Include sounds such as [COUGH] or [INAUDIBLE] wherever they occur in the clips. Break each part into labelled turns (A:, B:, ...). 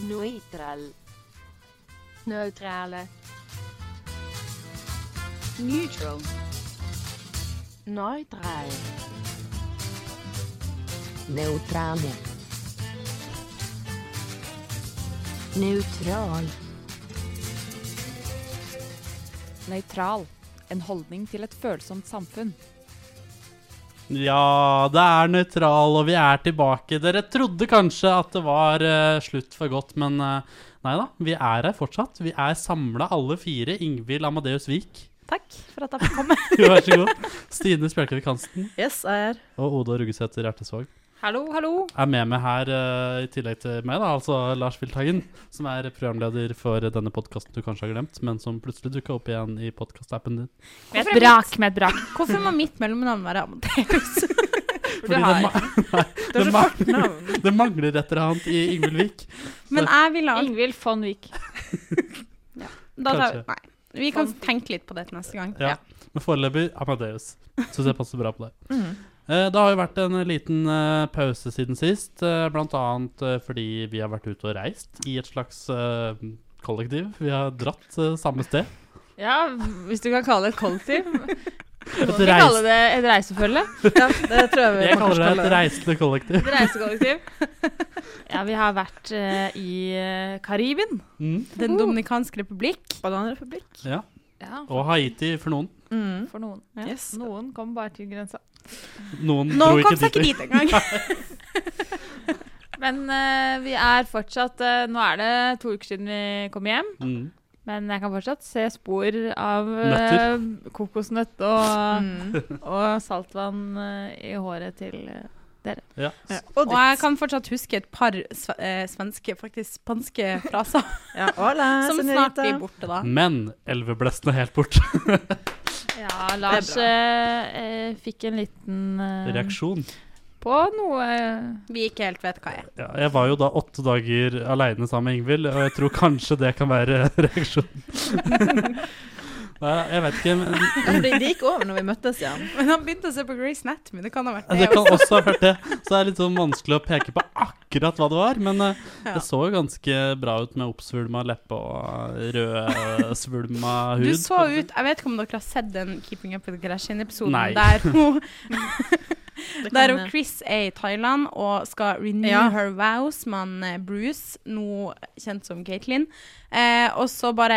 A: Neutral.
B: neutrale,
A: Neutral. Neutral. Neutrale. Neutral.
C: Nøytral. En holdning til et følsomt samfunn.
D: Ja, det er nøytral, og vi er tilbake. Dere trodde kanskje at det var eh, slutt for godt, men eh, nei da. Vi er her fortsatt. Vi er samla alle fire. Ingvild Amadeus Vik,
E: Takk for at jeg fikk komme.
D: Jo, [LAUGHS] vær så god. Stine Spjelkavik Hansen
E: Yes, jeg er her.
D: og Oda Ruggesæter Hjertesvåg
C: Hallo, hallo!
D: er med meg her, eh, i tillegg til meg, da, altså Lars Vilthagen, som er programleder for denne podkasten du kanskje har glemt, men som plutselig dukka opp igjen i podkastappen din.
C: Med
E: Hvorfor
C: et
E: er
C: brak, med et brak.
E: Hvorfor må mitt
C: [LAUGHS]
E: mellomnavn være Amadeus?
C: du
D: det
C: har-
D: ma- [LAUGHS] nei,
E: Det er
D: det
E: så
D: ma-
E: fort navn.
D: [LAUGHS] det mangler et eller annet i Ingvild Vik.
E: Men jeg ville alt
C: Ingvild von Wiik.
E: da tar vi,
D: Kanskje.
E: Nei. Vi kan tenke litt på det til neste gang.
D: Ja. Men foreløpig Amadeus. Syns jeg passer bra på deg. Eh, Det har jo vært en liten eh, pause siden sist, eh, blant annet eh, fordi vi har vært ute og reist i et slags eh, kollektiv. Vi har dratt eh, samme sted.
C: Ja, hvis du kan kalle det et [LAUGHS] kollektiv.
D: Et
C: Vi
D: reis-
C: kaller det et reisefølge.
E: Ja, det tror jeg
D: jeg kaller det et reisende kollektiv.
C: Et reisekollektiv. [LAUGHS] Ja, vi har vært eh, i eh, Karibien.
D: Mm.
E: Den dominikanske republikk.
F: Bananrepublikk.
D: Ja.
C: Ja,
D: Og Haiti for noen.
F: Mm.
C: for noen.
F: Yes.
C: Noen kom bare til grensa.
D: Noen
E: Nå
D: dro
E: kom
D: ikke
E: seg
D: dit.
E: ikke dit
D: [LAUGHS]
E: engang.
C: Men eh, vi er fortsatt eh, Nå er det to uker siden vi kom hjem,
D: Mm.
C: men jeg kan fortsatt se spor av eh, kokosnøtt og, og saltvann eh, i håret til eh,
D: Ja.
F: Ja.
E: Og jeg kan fortsatt huske et par sve- eh, svenske, faktisk spanske fraser,
F: Ja, hola,
E: [LAUGHS] som snart blir borte, da.
D: Men elveblestene er helt borte.
C: Ja, Lars
E: bra.
C: eh, eh, fikk en liten eh,
D: Reaksjon.
C: på noe
E: Vi ikke helt vet hva jeg er.
D: Ja, jeg var jo da åtte dager aleine sammen med Ingvild, og jeg tror kanskje det kan være [LAUGHS]
F: [LAUGHS]
D: reaksjonen. Nei, jeg vet ikke. Men
F: Fordi det gikk over når vi møttes igjen.
E: [LAUGHS] Men han begynte å se på Grace Anatomy, det kan ha vært
D: Ja, Det
E: det.
D: kan også ha vært det. Så det er litt sånn vanskelig å peke på akkurat hva det var. Men eh,
E: Ja.
D: det så jo ganske bra ut med oppsvulma leppe og eh, rødsvulma hud.
E: Du så ut Jeg vet ikke om dere har sett den Keeping Up With The Kardashian-episoden
D: Nei. [LAUGHS]
E: der hun
F: Det kan-
E: Der hun Chris er i Thailand og skal renew
F: Ja.
E: her vows med han, eh, Bruce, nå kjent som Katelyn. Eh, og så bare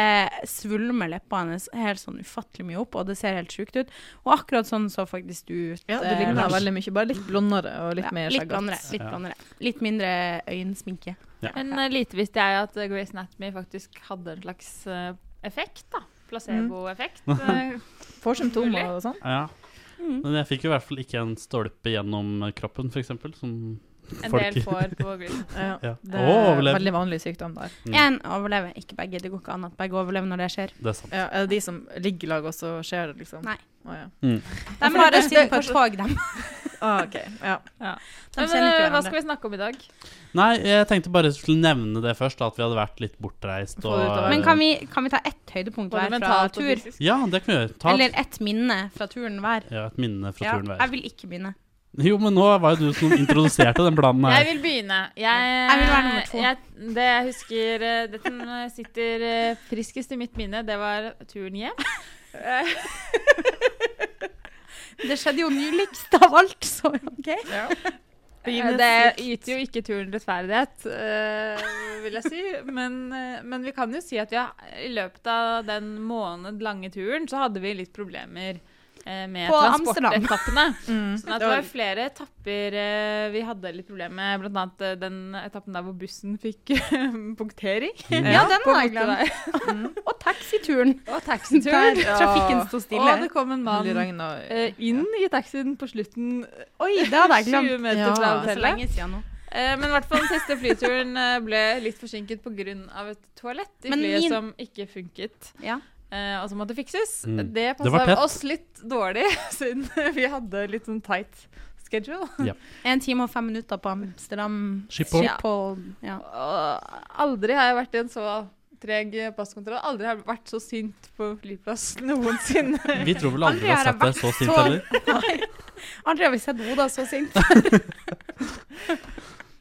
E: svulmer leppene hennes helt sånn ufattelig mye opp, og det ser helt sjukt ut. Og akkurat sånn så faktisk du ut.
F: ja, du
E: eh,
F: ligner
E: Lars.
F: veldig mye, bare litt blondere og litt
E: Ja,
F: mer
E: litt
F: skjeggete.
E: blondere, litt,
D: Ja.
E: blondere. litt mindre øyensminke.
C: Men eh, lite visste jeg at eh, Grey's Anatomy faktisk hadde en slags eh, effekt, da. Placeboeffekt. eh,
F: Får symptomer og sånn.
D: Ja. Men jeg fikk jo i hvert fall ikke en stolpe gjennom kroppen, f.eks. Som
C: en
D: folk
C: del får på Grey's Anatomy.
F: Ja.
D: ja.
F: Det
D: Å,
F: er
D: overlevd.
F: veldig vanlig sykdom der.
D: Mm.
E: Én overlever, ikke begge. Det går ikke an at begge overlever når det skjer.
D: Det er sant.
F: Ja, er det de som ligger i lag, og så skjer det, liksom?
E: Nei.
F: Å, ja.
E: De
F: for det-
E: bare
F: det-
E: sitter på et
F: kanskje-
E: tog, dem.
F: Ah, ok. ja.
E: De kjenner
C: Men,
E: ikke
C: eh, hva
E: hverandre.
C: skal vi snakke om i dag?
D: Nei, jeg tenkte bare jeg skulle nevne det først, da, at vi hadde vært litt bortreist.
F: Få
D: Og,
F: det ut av verden.
E: Men kan vi, kan vi ta ett høydepunkt
C: Både
E: hver fra
C: mentalt og
E: tur?
C: fysisk.
D: Ja, det kan vi gjøre. Ta
E: Eller ett minne fra turen hver?
D: ja, et minne fra turen
E: jeg
D: hver.
E: vil ikke begynne.
D: Jo, men nå var jo du som introduserte
E: [LAUGHS]
D: den planen
C: Jeg
D: her.
C: vil begynne. Jeg,
E: Jeg vil være nummer to.
C: Jeg, det jeg husker eh, Det som eh, sitter eh, friskest i mitt minne, det var turen hjem.
E: Det skjedde jo nyligst av alt, så OK.
C: [LAUGHS] Eh, Det yter jo ikke turen rettferdighet, eh, vil jeg si. Men, eh, men vi kan jo si at vi har, i løpet av den måned lange turen så hadde vi litt problemer eh, med
E: På Amsterdam.
C: transportetappene.
E: [LAUGHS]
F: Mm.
C: Sånn at det var flere etapper eh, vi hadde litt problemer med, blant annet eh, den etappen der hvor bussen fikk [LAUGHS] punktering.
E: Ja, den
C: på
E: har jeg
C: motorvei.
E: glemt. Og taxituren.
C: Og
E: Der
C: taxituren.
E: trafikken sto stille.
C: Og det kom en
F: Veldig
C: mann
F: regn og-
C: eh, inn i taxien på slutten,
E: Oi, det hadde jeg
C: 20
E: glemt.
C: meter
F: Ja.
C: fra
E: Det er så
C: hotellet.
E: lenge siden nå.
C: Eh, men i hvert fall den siste flyturen eh, ble litt forsinket pga. et toalett i
E: Men
C: flyet
E: min-
C: som ikke funket.
E: Ja.
C: eh, og som måtte fikses.
D: Mm.
C: Det
D: Det var tett.
C: passa oss litt dårlig, [LAUGHS] siden vi hadde litt sånn tight schedule.
E: En time og fem minutter på Amsterdam.
D: Schiphol.
E: Schiphol, [LAUGHS] Ja.
C: Og aldri har jeg vært i en så treg passkontroll. Aldri har jeg vært så sint på en flyplass [LAUGHS] noensinne.
D: Vi tror vel aldri
E: Aldri
D: vi
E: har
D: har
E: jeg
D: sett deg så
E: [LAUGHS]
D: sint heller.
E: Aldri har vi sett Oda så sint.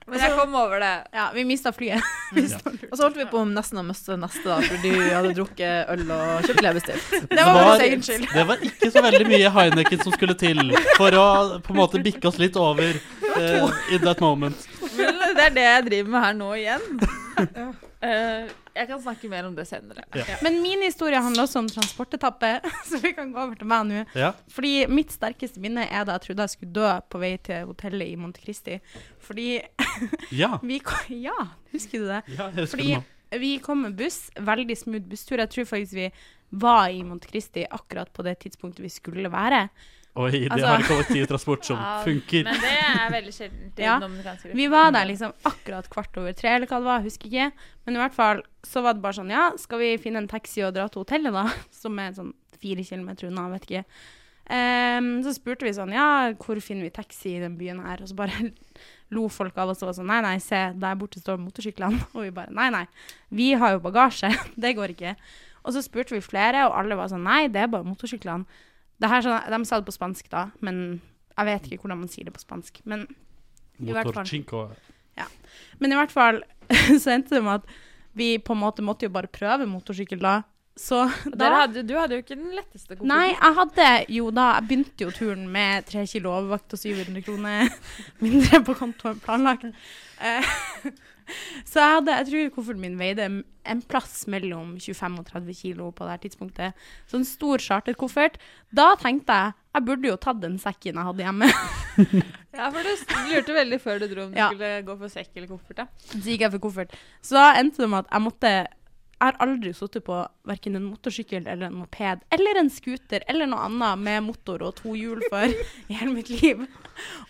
G: Men jeg kom over det.
E: Ja, vi mista flyet.
C: Og så holdt vi på om nesten å miste neste, da, fordi vi hadde drukket øl og kjøpt leppestift.
E: Det var vår egen skyld.
D: det var ikke så veldig mye Heineken som skulle til for å på en måte bikke oss litt over eh, in that moment.
G: Men det er det jeg driver med her nå [LAUGHS] igjen. Eh, jeg kan snakke mer om det senere.
E: Men min historie handler også om transportetappe, [LAUGHS] så vi kan gå over til meg nå.
D: Ja.
E: Fordi mitt sterkeste minne er da jeg trodde jeg skulle dø på vei til hotellet i Monte Cristi. Fordi [LAUGHS]
D: Ja.
E: vi kom Ja, husker du det?
D: ja jeg husker
E: Fordi
D: det nå.
E: vi kom med buss, veldig smooth busstur. Jeg tror faktisk vi var i Monte Cristi akkurat på det tidspunktet vi skulle være.
D: Oi, de
E: altså-
D: har kollektivtransport som funker.
G: Men det er veldig sjeldent i
E: Ja.
G: dominikanske
E: Vi var der liksom akkurat kvart over tre, eller hva det var, jeg husker ikke. Men i hvert fall så var det bare sånn, ja, skal vi finne en taxi og dra til hotellet da? [LAUGHS] Som er sånn fire kilometer unna, vet ikke. Ehm, så spurte vi sånn, ja, hvor finner vi taxi i den byen her? Og så bare [LAUGHS] lo folk av oss og var sånn, nei, nei, se, der borte står motorsyklene. [LAUGHS] Og vi bare, nei, nei, vi har jo bagasje, [LAUGHS] det går ikke. Og så spurte vi flere, og alle var sånn, nei, det er bare motorsyklene. Det her, sånn, de sa det på spansk da, men jeg vet ikke hvordan man sier det på spansk. Men i hvert fall.
D: Motorchinko.
E: men i hvert fall [LAUGHS] så endte det med at vi på en måte måtte jo bare prøve motorsykkel da. Så da
G: Dere hadde, du hadde jo ikke den letteste koden.
E: Nei, jeg hadde jo da Jeg begynte jo turen med tre kilo overvakt og 700 kroner [LAUGHS] mindre på konto enn planlagt. Eh, [LAUGHS] Så jeg hadde Jeg tror kofferten min veide en plass mellom 25 og 30 kilo på det her tidspunktet. Så en stor charterkoffert. Da tenkte jeg jeg burde jo tatt den sekken jeg hadde hjemme.
G: Ja, for du s- lurte veldig før du dro om du
E: Ja.
G: skulle gå for sekk eller koffert. da.
E: Så gikk jeg for koffert. Så da endte det med at jeg måtte Jeg har aldri sittet på verken en motorsykkel eller en moped eller en scooter eller noe annet med motor og to hjul før [LAUGHS] i hele mitt liv.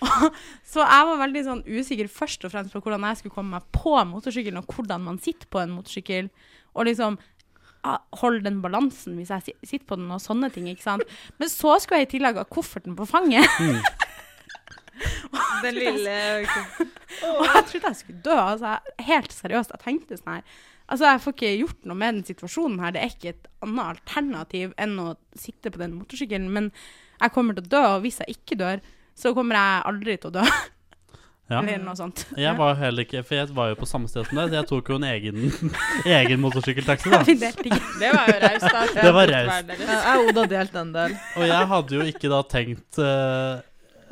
E: Og, så jeg var veldig sånn usikker først og fremst på hvordan jeg skulle komme meg på motorsykkelen, og hvordan man sitter på en motorsykkel. Og liksom ah, holde den balansen hvis jeg si- sitter på den, og sånne ting. ikke sant? Men så skulle jeg i tillegg ha kofferten på fanget.
G: Den [LAUGHS] lille
E: Og jeg trodde jeg skulle dø. Altså, jeg, helt seriøst, jeg tenkte sånn her Altså, jeg får ikke gjort noe med den situasjonen her. Det er ikke et annet alternativ enn å sitte på den motorsykkelen. Men jeg kommer til å dø, og hvis jeg ikke dør, så kommer jeg aldri til å dø.
D: [LAUGHS] Ja.
E: Eller noe sånt. [LAUGHS]
D: Jeg var jo heller ikke For jeg var jo på samme sted som deg, så jeg tok jo en egen, [LAUGHS] egen motorsykkeltaxi,
E: [LAUGHS]
D: da.
E: Vi delte ikke.
G: Det var jo raust, da.
D: Det var raust.
C: Ja, Jeg og Oda delte en
G: [LAUGHS]
C: del.
D: Og jeg hadde jo ikke da tenkt eh,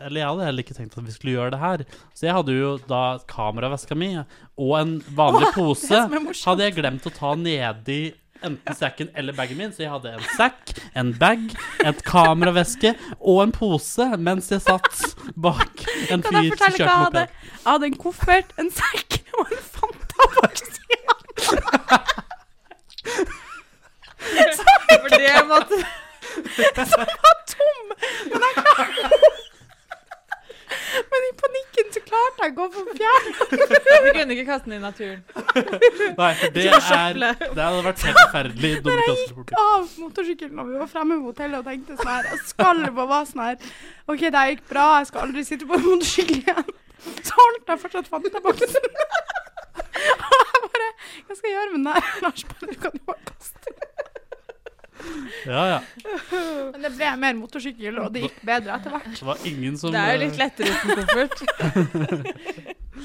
D: Eller jeg hadde heller ikke tenkt at vi skulle gjøre det her. Så jeg hadde jo da kameraveska mi og en vanlig pose
E: som er morsomt.
D: hadde jeg glemt å ta nedi enten sekken eller bagen min. Så jeg hadde en sekk, en bag, et kameraveske og en pose mens jeg satt bak en
E: Kan jeg
D: fyr som
E: fortelle hva
D: kjørte
E: jeg hadde?
D: moped.
E: Jeg hadde en koffert, en sekk og en Fanta bak [LAUGHS] sida.
G: For det måtte
E: Tom! Men jeg klarte [LAUGHS] Men i panikken så klarte jeg å gå for fjerde.
G: Vi kunne ikke kaste den i naturen.
D: Nei, for det, er, det hadde vært helt forferdelig. dumme kasseporter.
E: av motorsykkelen når vi var fremme ved hotellet og tenkte sånn her, jeg skal bare være sånn her, ok, det her gikk bra, jeg skal aldri sitte på en motorsykkel igjen. Så holdt jeg fortsatt Fanta-boksen. Og jeg bare, hva skal jeg gjøre med den her? Lars bare, du kan jo bare kaste den.
D: Ja, ja.
E: Men det ble mer motorsykkel, og det gikk bedre etter hvert.
D: Det var ingen som
G: Det er jo
D: eh,
G: litt lettere uten koffert.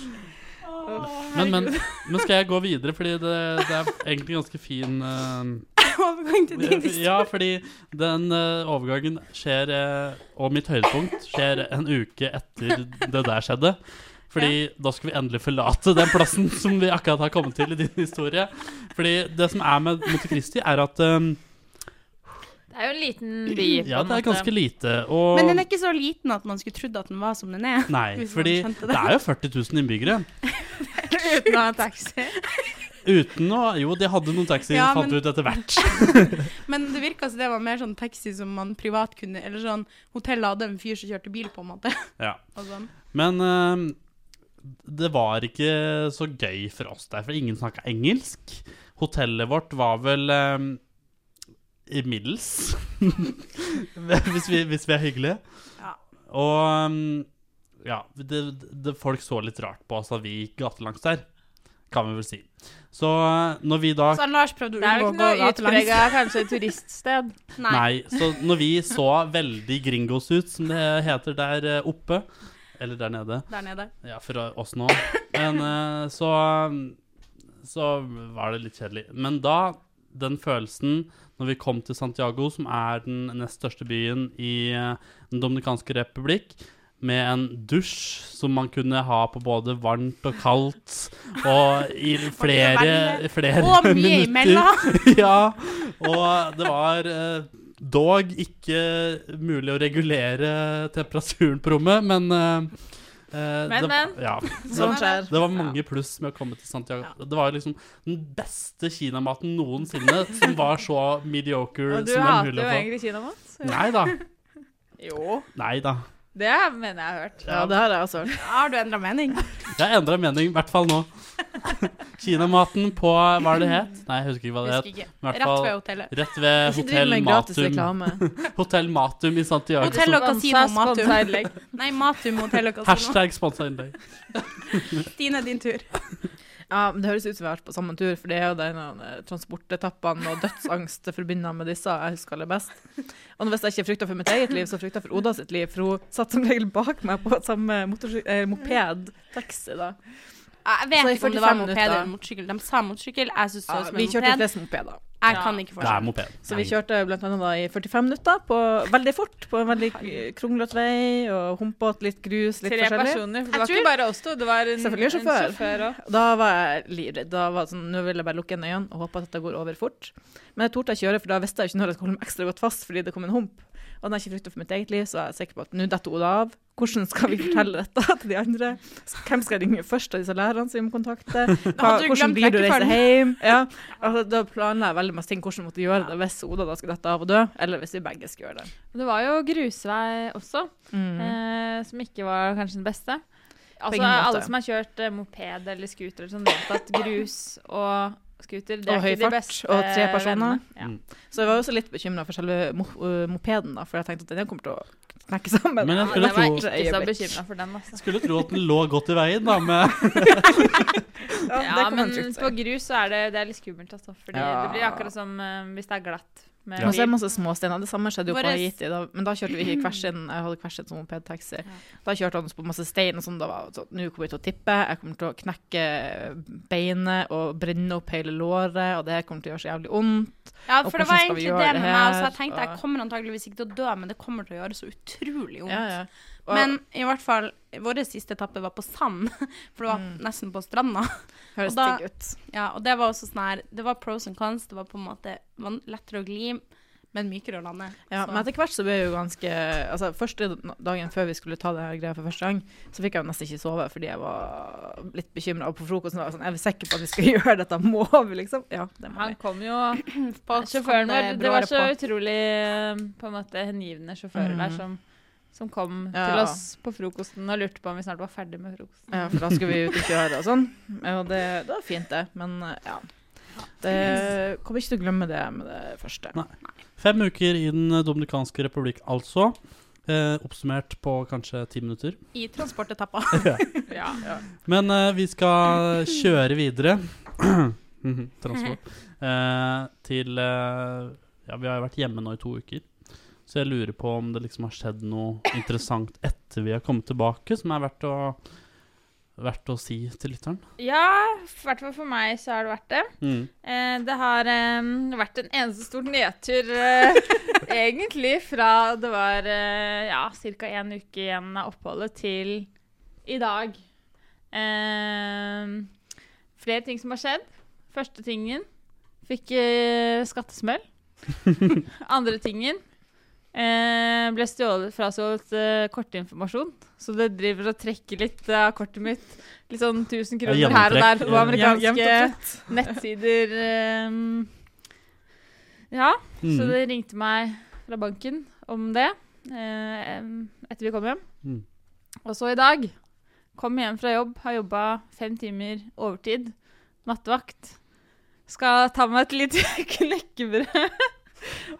D: [LAUGHS] Men, men, men skal jeg gå videre, fordi det, det er egentlig ganske fin eh,
E: Overgang til din historie.
D: Ja, fordi den eh, overgangen skjer eh, Og mitt høydepunkt skjer en uke etter det der skjedde. Fordi da skal vi endelig forlate den plassen som vi akkurat har kommet til i din historie. Fordi det som er med Monte Cristi, er at eh,
G: Det er jo en liten by.
D: ja, det er ganske lite. Og
E: Men den er ikke så liten at man skulle trodd at den var som den er. [LAUGHS]
D: Nei,
E: hvis man
D: fordi
E: skjønte det.
D: det er jo 40 000 innbyggere.
E: Uten å ha taxi.
D: Uten å Jo, de hadde noen taxier,
E: Ja,
D: fant
E: men-
D: vi ut etter hvert.
E: [LAUGHS] Men det virka som det var mer sånn taxi som man privat kunne Eller sånn hotellet hadde en fyr som kjørte bil, på en måte.
D: Ja.
E: Og sånn.
D: Men eh, det var ikke så gøy for oss der, for ingen snakka engelsk. Hotellet vårt var vel eh, i middels, [LAUGHS] hvis, vi, hvis vi er hyggelige.
E: Ja.
D: Og mm, ja, det, det, folk så litt rart på oss da vi gikk gatelangs der, kan vi vel si. Så eh, når vi da
E: Så han Sånn, Lars prøvde å
G: Det er jo
E: unngå å
G: ikke
E: gå
G: noe
E: gatelangs. [LAUGHS]
G: utprega kanskje turiststed.
D: Nei. så når vi så veldig gringos ut, som det heter der eh, oppe, Eller der nede.
E: der
D: [LAUGHS]
E: nede.
D: Ja, for oss nå. Men eh, så Så var det litt kjedelig. Men da, den følelsen når vi kom til Santiago, som er den nest største byen i eh, Den dominikanske republikk, med en dusj som man kunne ha på både varmt og kaldt, og i flere, flere
E: Og mye
D: minutter.
G: [LAUGHS]
E: imellom!
D: [LAUGHS] Ja, og det var eh, dog ikke mulig å regulere temperaturen på rommet, men eh, eh,
G: Men,
D: det,
G: men.
D: Ja,
G: Sånn
E: Sånn
C: Sånt skjer.
D: det var mange pluss med å komme til Santiago. Det var liksom den beste kinamaten noensinne, som var så mediocre
G: Og du
D: som den
G: hater jo
D: mulig å få.
G: egentlig kinamat.
D: Nei da.
C: Jo.
D: Nei da.
G: Det mener jeg har hørt.
C: Ja, det har jeg også hørt.
E: Har du endra mening?
D: Jeg endra mening, i hvert fall nå. [LAUGHS] Kinamaten på Hva er det het? Nei, jeg husker ikke hva det het.
E: Husker ikke.
D: I hvert
E: Rett ved
D: fall
E: hotellet.
D: rett ved
C: Ikke driv
D: Hotell
C: med gratis
D: Matum.
C: reklame.
D: [LAUGHS] Hotell Matum i Santiago.
E: Hotell og kasino
G: Sponsa-
E: Matum.
G: sponsa innlegg.
E: [LAUGHS] Nei, Matum hotell og kasino.
D: Hashtag sponsa innlegg.
E: Stine, din tur.
C: Ja, men Det høres ut som vi har vært på samme tur, for det er jo den eh, transportetappene og dødsangst forbundet med disse jeg husker aller best. Og hvis jeg ikke frykta for mitt eget liv, så frykta jeg for Oda sitt liv, for hun satt som regel bak meg på samme motorsy- eh, moped. Taxi, da.
E: Jeg
C: Så
E: vet
C: i
E: ikke om det var
C: 45
E: moped
C: minutter.
E: eller motorsykkel. De sa motorsykkel, jeg syns det så ut
C: Ja,
E: som
C: vi
E: en
C: kjørte
E: moped.
C: flest mopeder.
E: Jeg kan ikke
D: Det er
E: forskjell.
D: moped.
C: Så vi
D: Nei.
C: kjørte blant annet da i 45 minutter på, veldig fort på en veldig kronglete vei og humpete, litt grus, litt
G: Tre
C: forskjellig.
G: personer. For det
E: Jeg
G: var
E: tror-
G: ikke bare oss to, det var en,
C: Selvfølgelig
G: en
C: sjåfør.
G: sjåfør òg.
C: Da var jeg livredd. Da var det sånn, Nå vil jeg bare lukke igjen øynene og håpe at dette går over fort. Men jeg torde ikke gjøre, for da visste jeg ikke når jeg skulle holde meg ekstra godt fast fordi det kom en hump. Og når jeg ikke frykter for mitt eget liv, så er jeg sikker på at nå detter Oda av. Hvordan skal vi fortelle dette [LAUGHS] til de andre? Hvem skal jeg ringe først av disse lærerne som vi
E: [LAUGHS]
C: må kontakte? Hva,
E: hadde du
C: hvordan
E: glemt
C: blir du å reise
E: rekkefølgen. [LAUGHS]
C: hjem? Ja, altså, da planla jeg veldig masse ting hvordan jeg måtte gjøre det hvis Oda da skulle dette av og dø, eller hvis vi begge skulle gjøre det.
G: Det var jo grusvei også,
E: Mm.
G: eh, som ikke var kanskje den beste. Altså,
C: Mm. ingen måte.
G: alle som har kjørt eh, moped eller scooter, eller sånn,
C: [LAUGHS]
G: vet at grus og scooter det
C: Og
G: er
C: høy
G: ikke de
C: fart,
G: beste
C: og tre personer.
G: vennene. Ja.
D: Mm.
C: Så jeg var også litt bekymra for selve mo øh, mopeden, da, for jeg tenkte at den kommer til å knekke sammen.
D: Men jeg
G: Ja,
D: skulle
G: jeg var
D: tro-
G: ikke så
C: Øyeblikk.
G: bekymra for den. Altså.
D: Skulle tro at den lå godt i veien, da, med
C: Ja, det
G: Ja,
C: kan man
G: men
C: trygt si.
G: på grus så er det, det er litt skummelt, altså. Fordi
C: Ja.
G: det blir akkurat som eh, hvis det er glatt. Med
D: Ja.
C: Og så er det
G: bil.
C: masse småsteiner. Det samme skjedde jo på
E: Våres-
C: Haiti, da, men da kjørte vi ikke hver sin. Jeg hadde hver sin som mopedtaxi. Da kjørte han oss på masse stein, og sånn, da var det sånn Nå kommer jeg til å tippe, jeg kommer til å knekke beinet og brenne opp hele låret, og det kommer til å gjøre så jævlig vondt.
E: Ja,
C: Og
E: for det
C: hvordan
E: var
C: skal vi
E: egentlig det
C: gjøre det
E: med meg også.
C: her,
E: Jeg tenkte jeg
C: og-
E: kommer antageligvis ikke til å dø, men det kommer til å gjøre så utrolig vondt.
C: Ja, ja. Og,
E: Men i hvert fall, vår siste etappe var på sand, [LAUGHS] for det var
C: Mm.
E: nesten på stranda.
C: høres
E: og da-
C: digg ut.
E: Ja, og det var også sånn her, det var pros and cons, det var på en måte van- lettere å gli, men mykere å lande.
C: Ja,
E: Så-
C: men etter hvert så ble jeg jo ganske Altså, første dagen før vi skulle ta det her greia for første gang, så fikk jeg jo nesten ikke sove fordi jeg var litt bekymra. Og på frokosten var jeg sånn Er vi sikre på at vi skal [LAUGHS] gjøre dette? Må vi, liksom? Ja, det må
G: Han
C: vi.
G: kom jo
E: på oss kom
G: Sjåføren
E: det
G: vår Det
E: bråere
G: var så
E: på.
G: utrolig eh, på en måte hengivne sjåfører der som, som kom til
C: Ja.
G: oss på frokosten og lurte på om vi snart var ferdig med frokosten.
C: Ja, for da skulle vi ut og kjøre og sånn. Og det, det var fint, det. Men ja. Det kommer ikke til å glemme det med det første.
D: Nei. Fem uker i Den dominikanske republikk, altså. Eh, oppsummert på kanskje ti minutter.
E: I transportetappa.
G: Ja.
D: Men eh, vi skal kjøre videre. [CLEARS THROAT] Mhm, Transport. Eh, til eh, Ja, vi har jo vært hjemme nå i to uker. Så jeg lurer på om det liksom har skjedd noe interessant etter vi har kommet tilbake, som er verdt å, verdt å si til lytteren.
G: ja, i hvert fall for meg så har det vært det.
D: Mm.
G: Eh, det har eh, vært en eneste stor
C: [LAUGHS]
G: nedtur, eh, egentlig, fra det var eh, ja, ca. en uke igjen av oppholdet til i dag. Eh, flere ting som har skjedd. Første tingen fikk eh, skattesmell. Andre tingen eh, ble stjålet frastjålet eh, kortinformasjon. Så det driver og trekker litt av kortet mitt. Litt sånn 1000 kroner
D: Ja,
G: her og
D: gjennomtrekk.
G: der på
D: Ja.
G: amerikanske
C: Jevnt og trutt.
G: nettsider ehm, Ja, så
D: Mm.
G: det ringte meg fra banken om det eh, em, etter vi kom hjem.
D: Mm.
G: Og så i dag. Kom hjem fra jobb, har jobba fem timer overtid. Nattevakt. Skal ta meg et lite [LAUGHS] knekkebrød.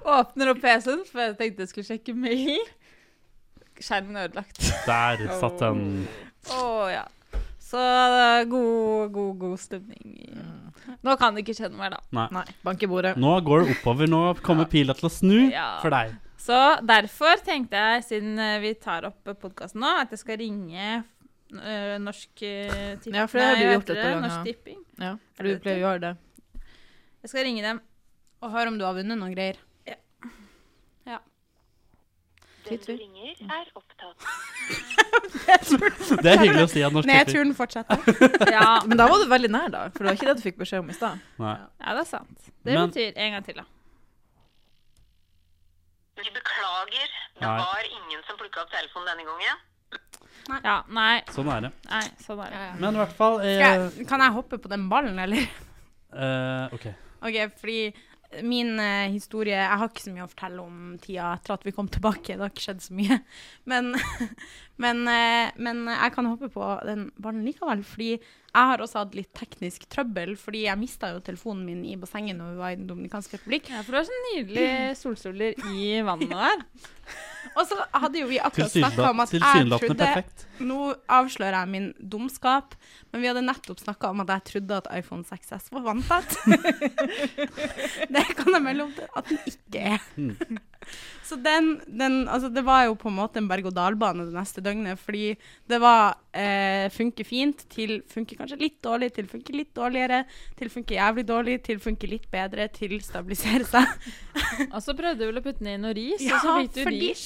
G: Åpner opp PC-en, for jeg tenkte jeg skulle sjekke mail. Skjermen er ødelagt.
D: Der satt den.
G: Å ja. Så eh, god, god, god stemning.
D: Mm.
G: Nå kan det ikke skjønne meg, da.
C: Nei, bank i bordet.
D: Nå går det oppover. Nå kommer pila til å snu
G: Ja.
D: for deg.
G: Så derfor tenkte jeg, siden eh, vi tar opp podkasten nå, at jeg skal ringe eh, Norsk eh, Tipping.
C: Ja, for det har
G: Nei,
C: du
G: hva
C: gjort
G: heter
C: et par
G: det?
C: ganger.
G: Norsk Tipping.
C: Ja. Eller du pleier å gjøre det.
G: Jeg skal ringe dem.
E: [LAUGHS] Og hør om du har vunnet noen greier.
H: Den du ringer er opptatt.
D: Det er hyggelig å si at norsk tipping
E: Nedturen fortsetter.
G: Ja,
C: Men da var du veldig nær, da. For det var ikke det du fikk beskjed om i stad.
D: Nei.
G: ja det er sant. Det
D: Men-
G: betyr En gang til, da.
H: Vi beklager. Det
D: Nei.
H: var ingen som plukka opp telefonen denne gangen.
G: Ja, nei,
D: Sånn er det.
G: nei, sånn er det.
D: Men i hvert fall eh,
E: Skal jeg, kan jeg hoppe på den ballen, eller? [LAUGHS]
D: eh, OK.
E: OK, fordi min eh, historie Jeg har ikke så mye å fortelle om tida etter at vi kom tilbake. Det har ikke skjedd så mye. [LAUGHS] Men, men, eh, men jeg kan hoppe på den ballen likevel, fordi jeg har også hatt litt teknisk trøbbel. Fordi jeg mista jo telefonen min i bassenget når vi var i Den dominikanske republikk.
G: Ja, for du har sånne nydelige solstoler i vannet der.
E: Og så hadde jo vi akkurat snakka om
D: Tilsynelat-
E: at jeg
D: Tilsynelatende
E: trodde
D: perfekt.
E: Nå avslører jeg min dumskap, men vi hadde nettopp snakka om at jeg trodde at iPhone 6S var
D: [LAUGHS]
E: vanntett. det kan jeg melde om til at den ikke er.
D: Hmm.
E: Så den, den Altså, det var jo på en måte en berg-og-dal-bane det neste døgnet, fordi det var eh, funker fint til funker kanskje litt dårlig, til funker litt dårligere, til funker jævlig dårlig, til funker litt bedre, til stabiliserer seg.
G: [LAUGHS] Og så prøvde du vel å putte den i noe ris,
E: Ja,
G: og så fikk du
E: fordi-
G: ris.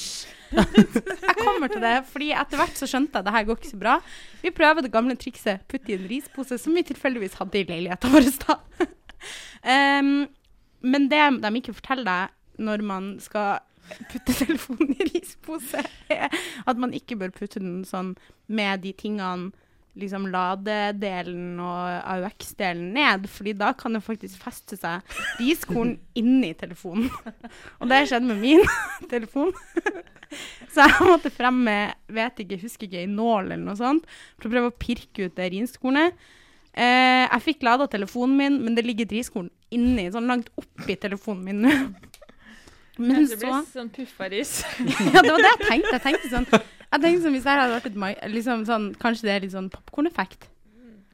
E: [LAUGHS] Jeg kommer til det, fordi etter hvert så skjønte jeg at det her går ikke så bra. Vi prøver det gamle trikset, putt i en rispose, som vi tilfeldigvis hadde i leiligheten vår da. [LAUGHS] Em, men det de ikke forteller deg når man skal putte telefonen i rispose, er at man ikke bør putte den sånn med de tingene liksom ladedelen og AUX-delen ned, fordi da kan det faktisk feste seg riskorn inni telefonen. [LAUGHS] Og det skjedde med min [LAUGHS] telefon. Så jeg måtte frem med, vet ikke, husker ikke, en nål eller noe sånt, for å prøve å pirke ut det riskornet. Eh, jeg fikk lada telefonen min, men det ligger et riskorn inni, sånn langt oppi telefonen min nå. Men
G: Kanskje det
E: så
G: blir sånn puffa ris. [LAUGHS]
E: [LAUGHS] ja, det var det jeg tenkte. Jeg tenkte sånn, jeg tenkte sånn hvis det her hadde vært et mai, liksom sånn, Kanskje det er litt sånn popkorneffekt.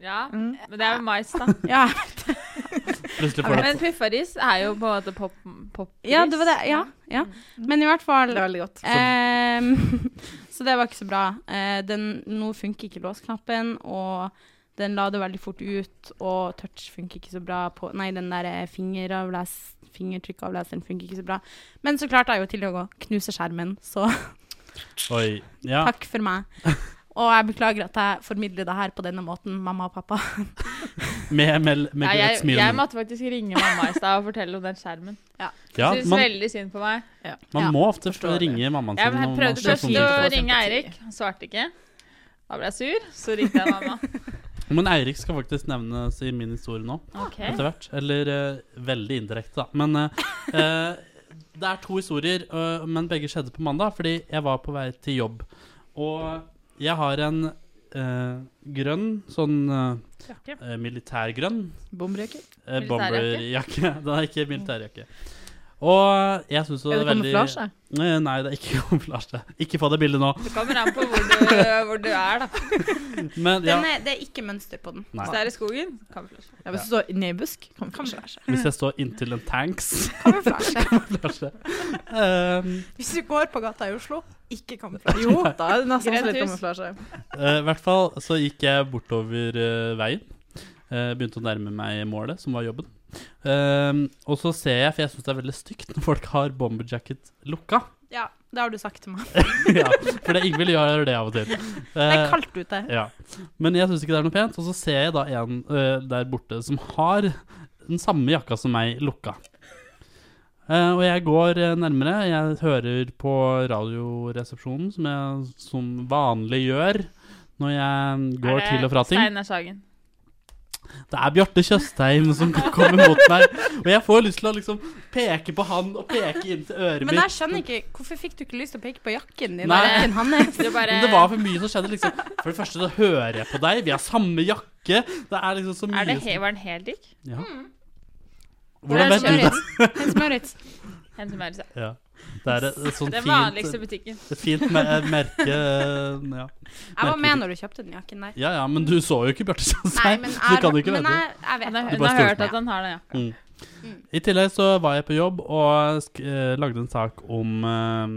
G: Ja, men det er jo mais, [LAUGHS] da.
E: Ja,
D: Plutselig får du
G: Men puffa ris er jo på en måte pop... pop
E: ja, det var det. Ja, ja. Men i hvert fall
C: Det er veldig godt.
E: ehm, [LAUGHS] Så det var ikke så bra. Eh, den, nå funker ikke låsknappen, og den lader veldig fort ut, og touch funker ikke så bra på Nei, den der eh, fingeravles, fingertrykkavleseren funker ikke så bra. Men så klarte jeg jo til å gå- knuse skjermen, så
D: Oi.
E: [LAUGHS]
D: Ja.
E: Takk for meg. Og jeg beklager at jeg formidler det her på denne måten, mamma og pappa.
D: Med, med, med
G: Nei,
D: et
G: jeg,
D: smil.
G: jeg måtte faktisk ringe mamma i stad og fortelle om den skjermen.
D: ja,
G: Synes
D: man,
G: veldig synd på meg.
D: man
E: ja,
D: må ofte
C: forstår det.
D: ringe mammaen
G: Jeg
D: sin. når man
G: prøvde
D: slår
G: først
D: sånn
G: å
D: telefon.
G: ringe
C: sympati.
G: Eirik, han svarte ikke. Da ble jeg sur, så ringte jeg mamma.
D: Men Eirik skal faktisk nevnes i min historie nå.
G: Ok.
D: etter hvert. Eller eh, veldig indirekte, da. Men eh, eh, det er to historier, eh, men begge skjedde på mandag, fordi jeg var på vei til jobb. Og jeg har en eh, grønn, sånn eh, eh, militærgrønn
C: Bomreker.
D: eh,
G: Militærjakke?
D: bomberjakke. [LAUGHS] Den er ikke militærjakke. Og jeg syns jo
C: Er
D: det
C: det
D: er veldig
C: kamuflasje?
D: Eh, Nei, det er ikke [LAUGHS] kamuflasje. Ikke få det bildet nå.
G: Det kommer an på hvor du, hvor du er, da.
D: Men ja.
E: Den er, det er ikke mønster på den.
G: Hvis det er i skogen, kan vi flashe.
C: Ja, hvis du står inne i busk, kan du kanskje
E: Kamuflasje.
D: Hvis jeg står inntil en tanks
E: [LAUGHS] Kamuflasje.
D: [LAUGHS] Kamuflasje. Um,
E: Hvis du går på gata i Oslo, ikke kamuflasje.
C: Jo, da er det nesten også litt
G: Grønt hus.
C: kamuflasje.
D: Eh, I hvert fall så gikk jeg bortover eh, veien. Eh, begynte å nærme meg målet, som var jobben. Ehm, og så ser jeg, for jeg syns det er veldig stygt når folk har bomberjacket lukka.
E: Ja, det har du sagt til
C: Eh,
E: meg.
D: [LAUGHS] ja, for det Ingvild gjør det av og til.
E: Det
D: Eh,
E: er kaldt ute.
D: ja. Men jeg syns ikke det er noe pent. Og så ser jeg da en eh, der borte som har den samme jakka som meg lukka. Eh, og jeg går eh, nærmere. Jeg hører på Radioresepsjonen, som jeg som vanlig gjør når jeg går til og fra ting.
G: Steinar Sagen.
D: Det er Bjarte Tjøstheim som [LAUGHS] kommer mot meg. Og jeg får lyst til å liksom peke på han og peke inn til øret
E: Men jeg
D: mitt.
E: skjønner ikke, hvorfor fikk du ikke lyst til å peke på jakken din?
D: Nei.
E: og Jakken
D: [LAUGHS]
E: hans?
G: Du bare
D: Men det var for mye som skjedde. liksom For det første så hører jeg på deg, vi har samme jakke. Det er liksom så mye
G: er det
D: som-
G: he Var den helt lik?
D: ja.
E: Det
D: Hvordan
E: er
D: vet du det?
E: Smørits. Det er Smørits.
G: En som er i seg.
D: Ja. Det er et, et sånt
G: Den vanligste
D: fint,
G: butikken.
D: et fint me- merke eh, ja.
E: Jeg var med når du kjøpte den jakken der.
D: ja ja, men du så jo ikke Bjarte
E: Nei,
D: Tjøstheim,
E: men
D: så [LAUGHS] du
E: jeg,
D: kan jo ikke
E: men
D: vite det.
E: jeg, jeg
G: Hun
E: vet det.
G: har, hun
D: bare
G: har
D: stolte
G: hørt
E: meg.
G: at han har den, ja.
D: Mm. I tillegg så var jeg på jobb og sk eh, lagde en sak om eh,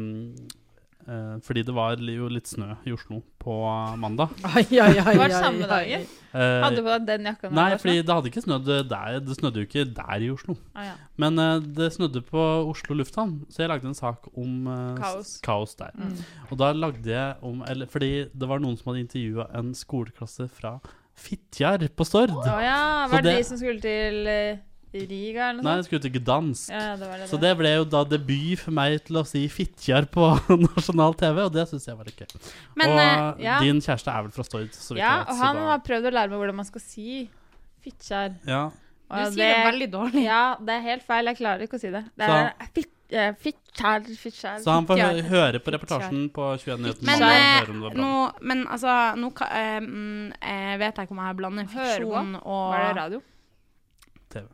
D: eh, Fordi det var li- jo litt snø i Oslo på mandag.
C: Ai, ai, ai,
G: Det var
C: ai,
G: samme
C: ai.
G: dagen.
D: Eh,
G: Hadde du på deg den jakka? når
D: nei,
G: det var
D: fordi
G: sånn?
D: det hadde ikke snødd der. Det snødde jo ikke der i Oslo.
G: ah, ja.
D: Men eh, det snødde på Oslo lufthavn, så jeg lagde en sak om eh,
G: Kaos.
D: s- kaos der. Og da lagde jeg om eller, Fordi det var noen som hadde intervjua en skoleklasse fra Fitjar på Stord.
G: Å ja,
D: Så
G: var det,
D: det-
G: de som skulle til eh, Riga eller
D: Nei,
G: noe
D: jeg skulle til Gdansk.
G: Ja, det var det.
D: Så det ble jo da debut for meg til å si Fitjar på [LAUGHS] nasjonal TV, og det syns jeg var litt gøy.
G: Men,
D: og
G: eh, ja.
D: din kjæreste er vel fra Stord, så vidt
G: ja,
D: jeg vet.
G: og
D: så
G: han
D: da-
G: har prøvd å lære meg hvordan man skal si fittjar.
D: ja.
E: Du sier det veldig dårlig.
G: Ja, det er helt feil. Jeg klarer ikke å si det. Det
D: Så-
G: er fitt- eh, fittjar, fittjar,
D: Så han får hø-
G: fittjar.
D: høre på reportasjen på 21 Nyheter
E: Men,
D: mandag og
E: eh,
D: høre om det var
E: nå,
D: bra.
E: men altså, nå ka- eh, mm, eh, vet jeg ikke om jeg blander
G: Hører på.
E: fiksjon og
G: Var det radio?
D: TV.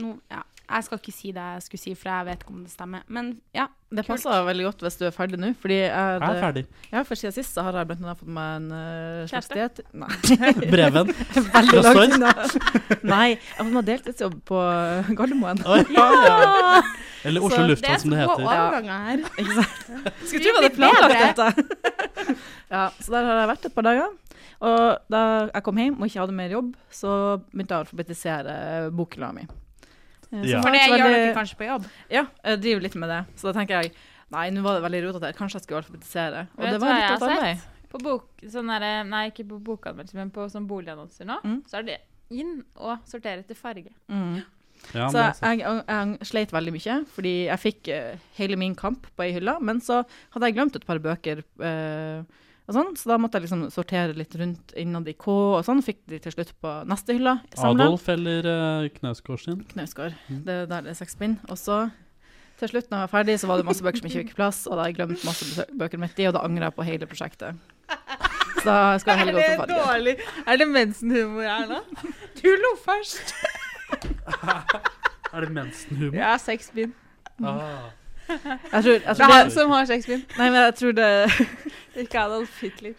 E: Nå- ja. Jeg skal ikke si det jeg skulle si, for jeg vet ikke om det stemmer. Men ja,
C: Det passer veldig godt hvis du er ferdig nå. Fordi jeg,
D: Jeg er ferdig.
C: Ja, for siden sist så har jeg blant annet fått meg en uh,
G: Kjæreste?
C: kjæreste.
D: [LAUGHS]
C: Nei.
G: [LAUGHS]
D: Breven.
C: Veldig
D: Fra
C: langt unna. [LAUGHS] Nei, jeg har fått meg deltidsjobb på Gardermoen.
D: Oi, ja, ja.
C: [LAUGHS]
D: Eller Oslo
C: Så
D: lufthavn, som det heter.
E: overganger her.
C: [LAUGHS] Ikke sant? Skulle tro vi hadde planlagt dette. [LAUGHS] ja, så der har jeg vært et par dager. Og da jeg kom hjem og ikke hadde mer jobb, så begynte jeg å alfabetisere bokhylla mi. Eh, så
D: Ja.
C: det
E: For
C: var
E: det
C: ikke
E: gjør
C: veldig-
E: dere kanskje på jobb.
C: Ja, jeg driver litt med det. Så da tenker jeg nei, nå var det veldig rotete her. Kanskje jeg skulle alfabetisere. Og
G: Vet
C: det
G: du
C: var
G: hva
C: litt
G: jeg
C: av et
G: har
C: arbeid.
G: På bok, sånn derre- nei, ikke på bokanmeldelser, men på sånn boligannonser nå,
C: Mm.
G: så er det inn og sortere etter farge.
C: Mm.
D: Ja, men
C: Så
D: altså, det er sant.
C: jeg, jeg, jeg sleit veldig mye, fordi jeg fikk eh, hele min kamp på ei hylle. Men så hadde jeg glemt et par bøker, eh, og sånn, så da måtte jeg liksom sortere litt rundt innad i K, og sånn. Fikk de til slutt på neste hylle. samlet.
D: Adolf eller uh, Knausgård sin?
C: Knausgård. Det er der det er seks bind. Og så til slutt, når jeg var ferdig, så var det masse bøker som ikke fikk plass, og da har jeg glemt masse besø- bøker midt i, og da angrer jeg på hele prosjektet. Så da skal jeg heller gå til farge.
G: dårlig? Er det mensenhumor her nå?
C: [LAUGHS] Du lo først!
D: Er det mensenhumor?
G: Ja, seks bind.
D: Ah.
C: Jeg tror, jeg
G: Det
C: tror
G: er han
C: det,
G: som har seks bind.
C: nei, men jeg tror det
G: Ikke Adolf Hitler.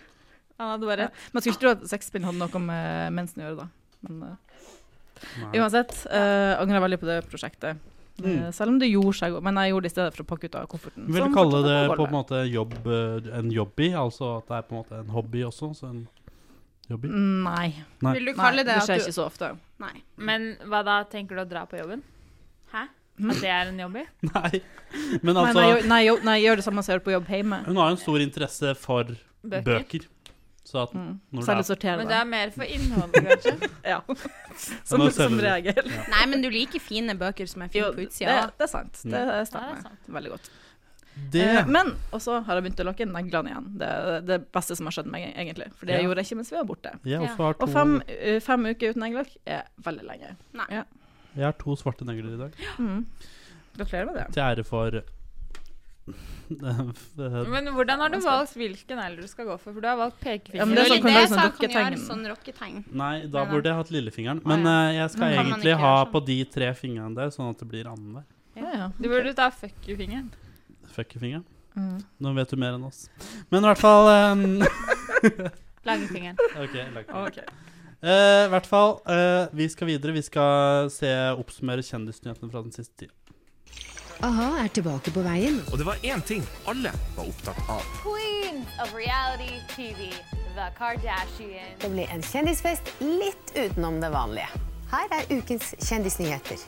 G: Han hadde bare
C: Man skulle ikke tro at sexspinn hadde noe med mensen å gjøre, da. Men eh,
D: Nei.
C: uansett, uh, angrer veldig på det prosjektet. Eh,
D: Mm.
C: selv om det gjorde seg godt, men jeg gjorde det i stedet for å pakke ut av kofferten. Sånn
D: Vil
C: som
D: du kalle
C: fortsatt
D: det
C: er
D: på
C: gulvet.
D: en måte jobb, eh, en jobby? Altså at det er på en måte en hobby også? Så en
C: Mm.
D: jobby?
C: Nei.
D: Nei.
E: Vil du
C: Nei,
E: kalle
C: det
E: det at
C: skjer
E: du
C: ikke så ofte.
E: Nei.
G: Men hva da, tenker du å dra på jobben? Hæ?
C: Mm.
G: At det er en jobb i?
D: [LAUGHS] Nei. Men
C: Nei, nei,
D: altså
C: jo- nei, jo- nei, jeg gjør det samme som jeg gjør på jobb hjemme.
D: Hun har jo en stor interesse for bøker.
G: Bøker.
D: Så at
C: Mm.
D: når det
C: Særlig
D: er
C: sortere
G: Men det
C: det.
G: er mer
C: [LAUGHS]
G: for innholdet, kanskje.
C: Ja.
D: Nå
C: Som,
D: ser
C: som
D: du det.
C: regel.
E: Nei, men du liker fine bøker som er
C: Jo,
E: fine på
C: det,
E: utsida.
C: det er sant. Det
G: Ja, det er
C: stemmer.
G: sant.
C: Veldig godt.
D: Mm. det
C: Eh, men og så har jeg begynt å lokke neglene igjen. Det er det beste som har skjedd meg, egentlig. For det
D: Ja.
C: gjorde jeg ikke mens vi var borte.
D: Jeg
G: Ja.
D: også har
C: Og fem,
D: to,
C: eh, fem uker uten neglelakk er veldig lenge.
D: jeg har to svarte negler i dag.
C: Mm. Gratulerer med det.
D: Til ære for [LAUGHS] eh,
G: Men hvordan har du valgt hvilken alder du skal gå for? For du har valgt
C: Ja,
G: pekefinger.
C: men det er sånn- kan du lage sånn
E: gjøre
C: rocketegn.
E: sånn rocketegn.
D: Nei, da
E: Nei, nei.
D: burde jeg hatt lillefingeren.
E: Å,
D: Men
E: ja.
D: eh, jeg skal
E: Men kan man
D: egentlig
E: ikke
D: ha
E: gjøre sånn?
D: på de tre fingrene der, sånn at det blir annenhver.
C: Ja, ja.
G: Du burde ta fuck you-fingeren.
D: Fucky-fingeren.
C: Mm.
D: Nå vet du mer enn oss. Men i hvert fall eh, [LAUGHS]
G: Langfingeren.
D: OK. lag på.
C: Ok.
D: Eh, I hvert fall, eh, vi skal videre. Vi skal se oppsummere kjendisnyhetene fra den siste tida.
F: A-ha er tilbake på veien.
I: Og det var én ting alle var opptatt av.
J: queens of reality TV, The Kardashians.
K: Det blir en kjendisfest litt utenom det vanlige. Her er ukens kjendisnyheter.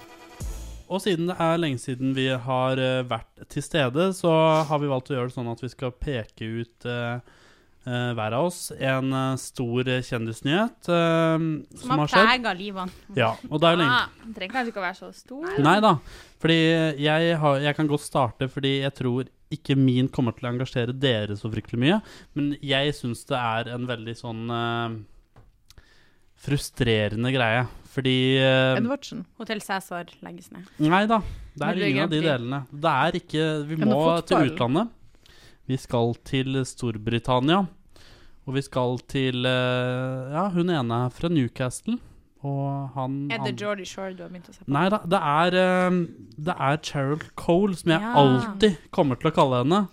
D: Og siden det er lenge siden vi har eh, vært til stede, så har vi valgt å gjøre det sånn at vi skal peke ut eh, eh, hver av oss en eh, stor eh, kjendisnyhet eh, som,
E: Som har
D: har skjedd.
E: prega livet.
D: Ja, og det er jo lenge
G: Ah, den trenger kanskje ikke å være så stor.
D: Nei da. Fordi jeg, har, jeg kan godt starte, fordi jeg tror ikke min kommer til å engasjere dere så fryktelig mye. Men jeg syns det er en veldig sånn eh, frustrerende greie. Fordi eh,
C: Edvardsen.
E: Hotell Cæsar legges ned.
D: Nei da. Det
G: Men
D: er
G: det er
D: ingen av de
G: Grand
D: delene. Det er ikke Vi
C: Ja, men
D: må til
C: fotball.
D: utlandet. Vi skal til Storbritannia. Og vi skal til eh, Ja, hun ene er fra Newcastle, og han
E: Er det
D: andre-
E: Geordie Shore du har begynt å se på?
D: Nei da, det er, eh, det er Cheryl Cole som jeg
E: Ja.
D: alltid kommer til å kalle henne.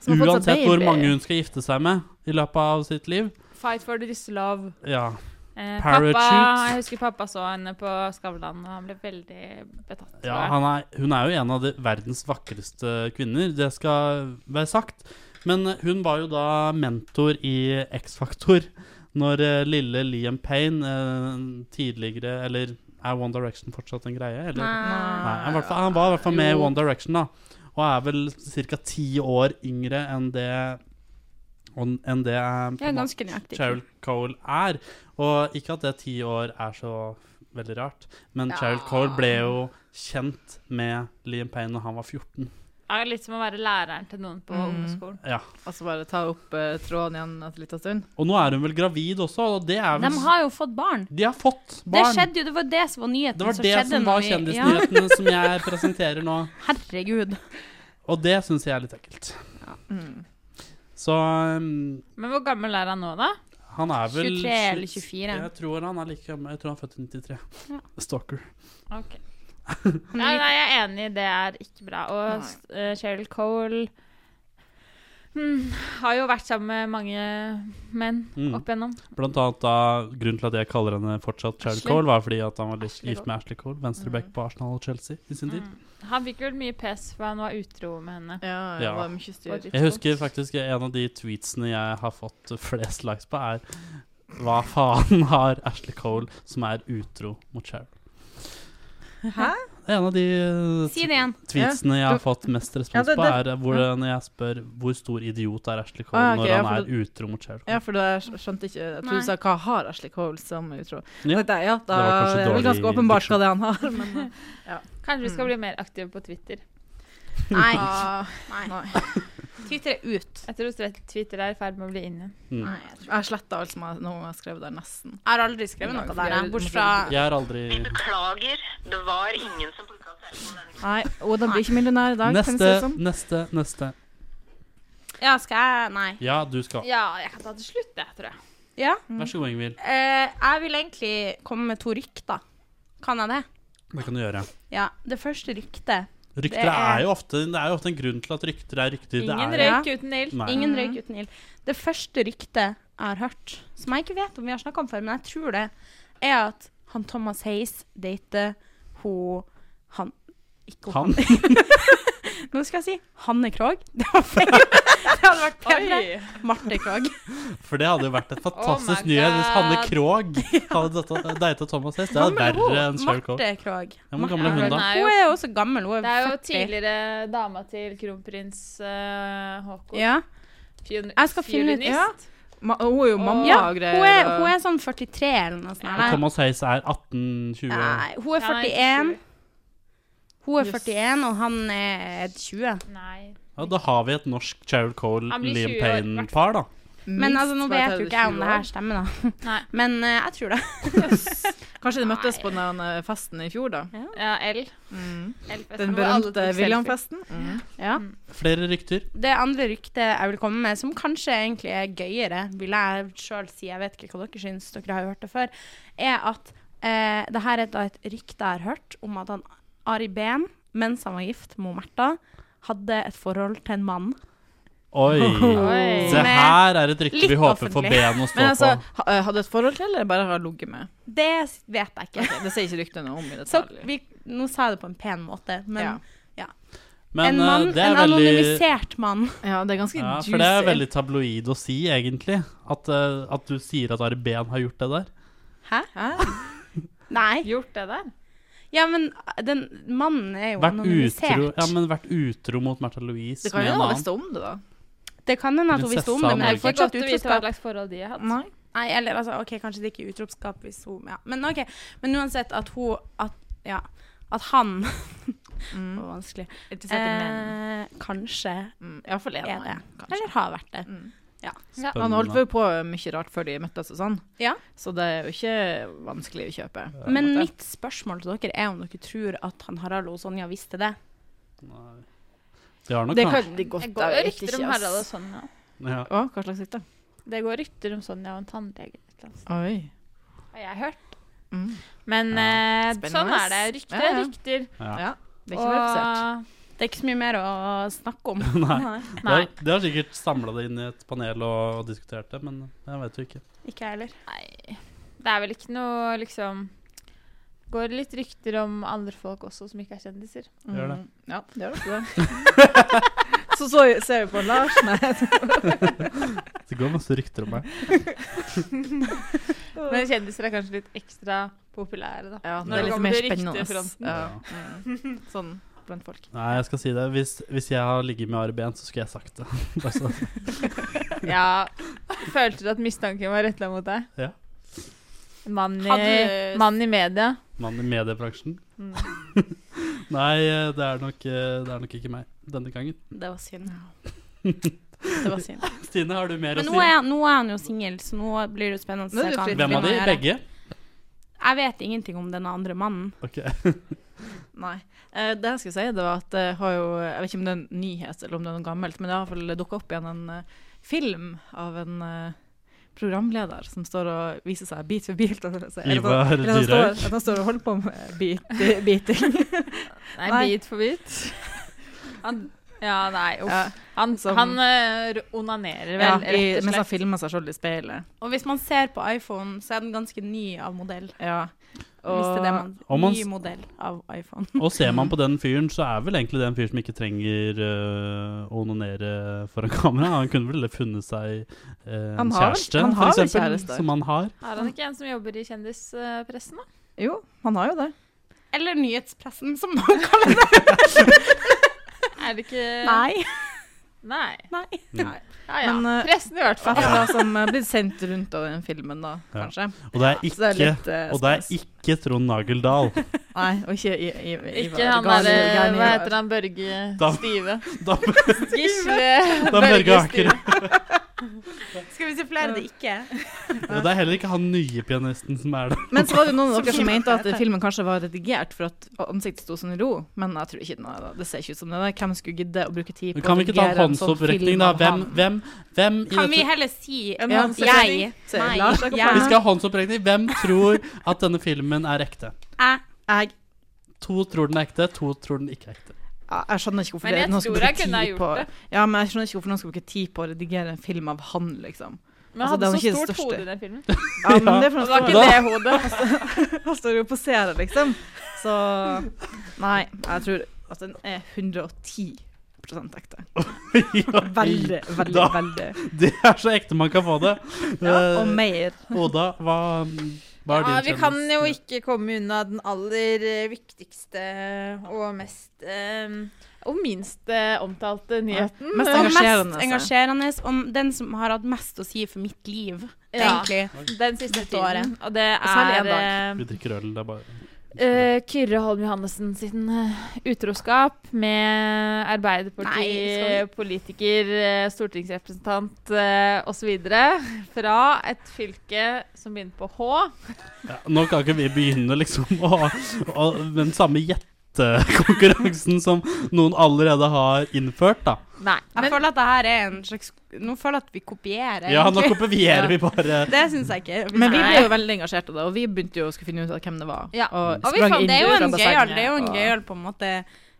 C: Som har fått seg
D: Uansett hvor
C: baby.
D: mange hun skal gifte seg med i løpet av sitt liv.
G: Fight for this love.
D: Ja.
G: Eh,
D: Parachute.
G: Pappa, jeg husker pappa så henne på Skavlan, og han ble veldig betatt.
D: Ja,
G: tror jeg.
D: han er, hun er jo en av de, verdens vakreste kvinner, det skal være sagt. Men eh, hun var jo da mentor i X-Faktor når eh, lille Liam Payne, eh, tidligere Eller er One Direction fortsatt en greie? Eller?
E: Ah.
D: Nei, han, var, han var i hvert fall med i One Direction, da. Og er vel ca. ti år yngre enn det enn det eh, på
E: Jeg er
D: en måte-
E: ganske nøyaktig.
D: Cheryl Cole er. Og ikke at det ti år er så veldig rart, men Cheryl Cole ble jo kjent med Liam Payne når han var 14.
G: Det er litt som å være læreren til noen på
D: Mm.
G: ungdomsskolen.
D: Ja.
C: Og så bare ta opp eh, tråden igjen etter litt av stund.
D: Og nå er hun vel gravid også, og det er
E: De
D: vel
E: har jo fått barn.
D: De har fått
E: Det
D: barn!
E: skjedde jo, det var det som var nyheten.
D: Det var
E: som
D: det
E: skjedde
D: som
E: når
D: var
E: vi-
D: kjendisnyhetene som jeg presenterer nå.
E: Ja, herregud.
D: Og det syns jeg er litt ekkelt.
E: mm.
D: Så um,
G: Men hvor gammel er han nå, da?
D: han er vel
E: 23 eller 24.
D: Jeg tror han er like gammel. Jeg tror han er født i 93. Stalker.
G: Ok. Nei, nei, jeg er enig, det er ikke bra. Og eh, Cheryl Cole hmm, har jo vært sammen med mange menn
D: Mm.
G: opp igjennom.
D: Blant annet da, grunnen til at jeg kaller henne fortsatt Cheryl
G: Ashley.
D: Cole, var fordi at han var litt
G: Ashley
D: gift med Ashley Cole, venstreback på Arsenal og Chelsea i sin tid.
G: Han fikk vel mye pes for han var utro med henne.
C: Ja,
D: Ja.
C: det var mye styr.
D: Jeg husker faktisk en av de tweetsene jeg har fått flest likes på, er Hva faen har Ashley Cole som er utro mot Cheryl?
C: Hæ?
D: Det er En av de eh,
E: Si det
D: [LAUGHS]
E: igjen.
D: tweetsene jeg har fått mest
C: Ja,
D: respons
C: det-
D: på,
C: det-
D: er hvor, når jeg spør hvor stor idiot er Ashley Cole
C: Ah, ok,
D: når
C: ja,
D: han
C: for
D: er utro mot Cheryl.
C: Ja, for da skj- skjønte ikke Jeg trodde
E: Nei.
C: du sa hva har Ashley Cole som utro.
D: Ja.
C: Ja, det, ja, da,
D: var kanskje
C: det er vel
D: dårlig
C: ganske åpenbart
D: diksjon.
C: hva det han har, men
G: Kanskje vi
D: Mm.
G: skal bli mer aktive på Twitter.
E: Nei.
C: Ah,
E: Nei. [LAUGHS]
C: nei.
E: Twitter er ut.
G: Jeg tror stret- Twitter er i ferd med å bli inn igjen.
D: Mm.
E: Nei, jeg tror-
C: Jeg har sletta alt som jeg, noe jeg har skrevet der, nesten.
E: Jeg har aldri skrevet noe der, jeg, bortsett fra
D: Jeg har aldri
H: Vi beklager, det var ingen som plukket opp telefonen denne gangen.
C: Nei, Oda blir ikke millionær i dag, kan jeg si
D: Neste,
C: det sånn.
D: neste, neste.
E: Ja, skal jeg Nei.
D: Ja, du skal.
G: Ja, jeg kan ta til slutt, jeg, tror jeg.
E: Ja.
D: Vær så god, Ingvild.
E: Eh, jeg vil egentlig komme med to rykter. Kan jeg det?
D: Det kan du gjøre.
E: Ja. Det første ryktet
D: Rykter
E: Det
D: er...
E: er-
D: jo ofte Det er jo ofte en grunn til at rykter er rykter.
G: Ingen
D: det er...
G: røyk uten ild.
D: Nei.
E: Ingen røyk uten ild. Det første ryktet jeg har hørt, som jeg ikke vet om vi har snakka om før, men jeg tror det, er at han Thomas Hayes dater hun Han Ikke
D: Han?
G: [LAUGHS]
E: han. Nå skal jeg si Hanne Krogh. [LAUGHS] Det var
D: [LAUGHS]
E: feil. Det hadde vært bedre. Marte Krogh.
D: For det hadde jo vært et fantastisk
G: Oh my
D: nyhet hvis Hanne
G: God. [LAUGHS]
D: Krogh hadde datet- datet Thomas Hest. Det
E: Ja, [LAUGHS]
D: er
E: men hun,
D: verre enn Cheryl Cole.
E: Marte Krogh.
D: Ja, hvor gammel er hun da?
G: Nei.
E: Hun er jo også gammel. Hun er,
G: Det er jo
E: 40.
G: tidligere dama til kronprins eh, Haakon.
E: Ja.
G: Fjor-
E: Jeg skal finne ut-
G: fiolinist.
E: ja.
C: Ma hun er jo mamma
E: ja
C: og
E: hun,
C: greier.
E: er,
C: og-
E: hun er sånn 43 eller noe sånt.
D: Og
E: Nei.
D: Thomas Hayes er 18-20.
E: Nei, hun er
G: Ja, nei,
E: 41. Hun er
C: Jøss.
E: 41, og han er 20.
G: Nei.
D: Ja, da har vi et norsk Cheryl
G: Han blir
D: Cole-Liam
G: 20 år,
D: Payne-par, da.
E: Men
C: Minst
E: altså, nå vet jo
C: 32
E: ikke jeg om det
C: år.
E: her stemmer, da.
G: Nei.
E: Men eh, jeg tror det.
C: Kanskje de møttes på den eh, festen i fjor, da.
G: Ja, L.
C: Den berømte William-festen. Mm.
E: Ja.
D: Flere rykter.
E: Det andre ryktet jeg vil komme med, som kanskje egentlig er gøyere, vil jeg sjøl si, jeg vet ikke hva dere syns, dere har jo hørt det før, er at eh, det her er da et rykte jeg har hørt om at han Ari Behn, mens han var gift med Märtha, hadde et forhold til en mann.
D: Oi.
G: Oi.
D: Det her er et rykte
E: Litt
D: vi håper får
E: offentlig.
D: ben å stå
C: Men altså,
D: på.
C: ha, eh, hadde et forhold til, eller bare har ligget med?
E: Det s- vet jeg ikke.
C: Ok, det sier ikke ryktene om i
E: Så
C: detalj.
E: vi, nå sa jeg det på en pen måte, men
C: Ja.
D: Men
E: en mann,
D: eh, det er
E: en
D: veldig
E: anonymisert mann.
C: Ja, det er ganske
D: ja,
C: juicy.
D: for det er veldig tabloid å si, egentlig. At, eh, at du sier at Ari Behn har gjort det der.
C: Hæ?
E: [LAUGHS] Nei.
G: Gjort det der?
E: Ja, men den mannen er jo
D: Vært
E: anonymisert.
D: utro, ja, men vært utro mot Märtha Louise.
C: Det kan
D: med
C: jo
D: en
C: noe
D: annen.
C: visst om det, da.
E: Det kan hende at hun visste om det,
D: Prinsessa
E: men det
G: Det er
E: er
D: Norge.
G: ikke
E: fortsatt
G: godt å vite hva
E: utroskap.
G: slags forhold de har hatt.
C: Nei.
E: Nei, eller altså, OK, kanskje det ikke er utroskap hvis hun ja. Men OK. Men uansett at hun At, ja, at
C: [LAUGHS]
E: han Det var vanskelig.
C: Interessert i menn.
E: Eh, kanskje
C: Mm, Iallfall en
E: er
C: av
E: det.
C: dem, kanskje.
E: Eller har vært det.
C: Han holdt jo på mye rart før de møttes og sånn,
E: Ja.
C: så det er jo ikke vanskelig å kjøpe. på en
E: Men
C: måte.
E: mitt spørsmål til dere er om dere tror at han Harald og Sonja visste det.
D: Det har nok
C: Det
D: kanskje
C: kan de godt
G: Det går
C: jeg
G: jo
C: vet
G: rykter
C: ikke,
G: om altså.
C: ass.
G: Harald og Sonja.
D: ja.
C: Å, hva slags rykte?
G: Det går rykter om Sonja og en tannlege. et eller annet sted.
C: Oi.
G: Har jeg hørt.
C: Mm.
G: Men eh, sånn
C: Spennende.
G: er det. Rykter
C: Ja,
G: er
C: ja.
G: rykter.
C: Ja. Det er ikke verifisert.
G: Og
E: Det er ikke så mye mer å snakke
D: [LAUGHS]
E: om.
D: [LAUGHS] Nei. Det
G: Nei.
D: har, det har sikkert samla det inn i et panel og, og diskutert det, men eh, jeg vet jo ikke.
E: Ikke jeg heller.
G: Nei. Det er vel ikke noe liksom Går litt rykter om andre folk også som ikke er kjendiser.
D: Gjør det.
C: Mm, Ja, det gjør det. [LAUGHS] så, så ser vi på Lars. Nei.
D: Det går masse rykter om meg.
G: Men kjendiser er kanskje litt ekstra populære, da.
C: Ja,
G: Når det liksom kommer til ryktefronten.
C: Ja. Mm. Sånn blant folk.
D: Nei, jeg skal si det. Hvis, hvis jeg har ligget med Ari Behn, så skulle jeg sagt det. [LAUGHS] Bare så-
G: Ja. Følte du at mistanken var retta mot deg?
D: Ja.
G: Mann i,
E: Hadde du-
G: mann i media?
D: Mann i mediebransjen.
C: Mm.
D: [LAUGHS] Nei, det er, nok, eh, det er nok ikke meg denne gangen.
E: Det var synd. Det var
C: [LAUGHS]
E: synd.
D: Stine, har du mer å
E: Men
D: si?
E: nå er, nå er han jo singel, så nå blir det jo spennende. å
C: Nå er
E: se
C: du
E: hva han
C: fritt.
D: Hvem av
E: vil
D: de?
E: gjøre.
D: Begge?
E: Jeg vet ingenting om den andre mannen.
D: Ok. [LAUGHS]
C: Nei. Eh, det jeg skulle si, det var at jeg har jo Jeg vet ikke om det er en nyhet eller om det er noe gammelt, men det har iallfall dukka opp igjen en eh, film av en eh, programleder som står og viser seg bit for bit. Eller, så- eller
D: Ivar
C: sånn- eller han står-
D: Dyrhaug.
C: At han står og holder på med bit, [LAUGHS] biting.
G: Nei,
C: Nei.
G: bit for bit.
C: [LAUGHS]
G: Han, ja, nei, uff.
C: Ja,
G: Han,
C: som-
G: han eh, onanerer vel,
C: ja, i,
G: rett og
C: mens han
G: slett.
C: filmer seg sjøl i speilet.
E: Og hvis man ser på iPhone, så er den ganske ny av modell.
C: Ja.
E: Hvis det er det man,
D: Om man
E: ny
D: s-
E: modell av iPhone. [LAUGHS]
D: Og ser man på den fyren, så er vel egentlig det en fyr som ikke trenger øh, å onanere foran kamera. Han kunne vel funnet seg øh, en
C: Han har vel-
D: kjæreste,
C: han
D: for
C: har vel
D: eksempel,
C: kjæreste.
D: som han har.
G: Har han ikke en som jobber i kjendispressen, da?
C: Jo, han har jo det.
E: Eller nyhetspressen, som man kaller det.
G: Er det ikke
E: Nei.
G: Nei.
E: Nei.
D: Mm.
G: Ja, ja.
C: Men, eh,
G: pressen i hvert
C: Hva
G: fall.
C: da som er blitt sendt rundt av den filmen, da,
D: Ja.
C: kanskje.
D: Og det er
C: Så det
D: ikke,
C: er litt, eh,
D: og det er
C: stress.
D: ikke
C: [LAUGHS]
D: Trond Nageldal.
C: Nei, og ikke i, i, i,
G: Ikke han derre Hva heter han? Børge
D: Da-
G: Stive?
D: Da,
G: Gisle
D: da Børge Aker.
E: Skal vi se flere det ikke er?
D: Og det er heller ikke han nye pianisten som er der.
C: Men så var det noen av dere
E: Som
C: som
G: [LAUGHS]
C: mente at
E: filmen.
C: filmen kanskje var redigert for at ansiktet sto sånn i ro, men jeg tror ikke den er det. Det ser ikke ut som det. er. Hvem skulle gidde å bruke tid
D: Men
C: på
D: Kan vi ikke ta en
C: sånn
D: håndsopprekning, da? Hvem, hvem, hvem i
E: Kan vi
D: dette
E: heller si
C: En
E: ja,
C: håndsopprekning.
E: jeg?
C: Se,
E: Nei.
C: Lars, jeg kan
E: jeg.
D: Vi skal ha håndsopprekning. Hvem tror at denne filmen er ekte?
E: Jeg.
C: Jeg,
D: To tror den er ekte, to tror den ikke er ekte. [LAUGHS]
C: ja, jeg skjønner ikke hvorfor
G: Men
C: det-
G: jeg
C: noen skal
G: tror jeg
C: bruke
G: kunne ha
C: tid
G: gjort
C: på
G: det.
C: Ja, men jeg skjønner ikke hvorfor noen skal bruke tid på å redigere en film av han, liksom.
G: Men
C: Altså,
G: han
C: det er jo
G: hadde så
C: ikke det
G: stort
C: største.
G: hode i den filmen.
C: Ja, men det er for
G: Og det var
C: noe
G: ikke det hodet.
C: [LAUGHS] Han står jo og poserer, liksom. Så Nei, jeg tror at den er 110 ekte. Veldig, veldig,
D: Da-
C: veldig.
D: Det er så ekte man kan få det.
C: Ja, og
D: Eh,
C: mer.
D: Oda, hva, hva er
H: Ja,
D: din
H: vi
D: kjendis?
H: kan jo ikke komme unna den aller eh, viktigste og mest eh,
G: Og minst eh, omtalte nyheten.
C: Mest
E: Og mest
C: engasjerende. altså.
E: engasjerende om den som har hatt mest å si for mitt liv,
G: Ja.
E: egentlig.
G: Den siste
E: Dette
G: tiden.
E: året.
G: Og det
C: Og særlig
G: er
C: en dag.
G: eh,
D: Vi drikker øl, det er bare
G: Eh, Kyrre Holm Johannessen sin eh, utroskap med
E: Nei, skal vi-
G: Arbeiderparti, politiker, eh, stortingsrepresentant eh, osv. fra et fylke som begynner på H.
D: ja, Nå kan ikke vi begynne liksom å å den samme gjettekonkurransen som noen allerede har innført, da.
G: Nei.
E: Jeg føler at det her er en slags Nå føler jeg at vi kopierer,
D: Ja, nå
E: egentlig.
D: kopierer vi bare
E: [LAUGHS] Det syns jeg ikke.
C: Men vi
G: Nei.
C: ble jo veldig engasjert av det, og vi begynte jo å skulle finne ut av hvem det var.
G: Ja.
C: Og,
E: Og vi
C: sprang
E: fant, det er jo
C: inn
E: en
C: fra
E: gøyal
C: bassenget,
E: Det er jo en
C: og-
E: gøyal på en måte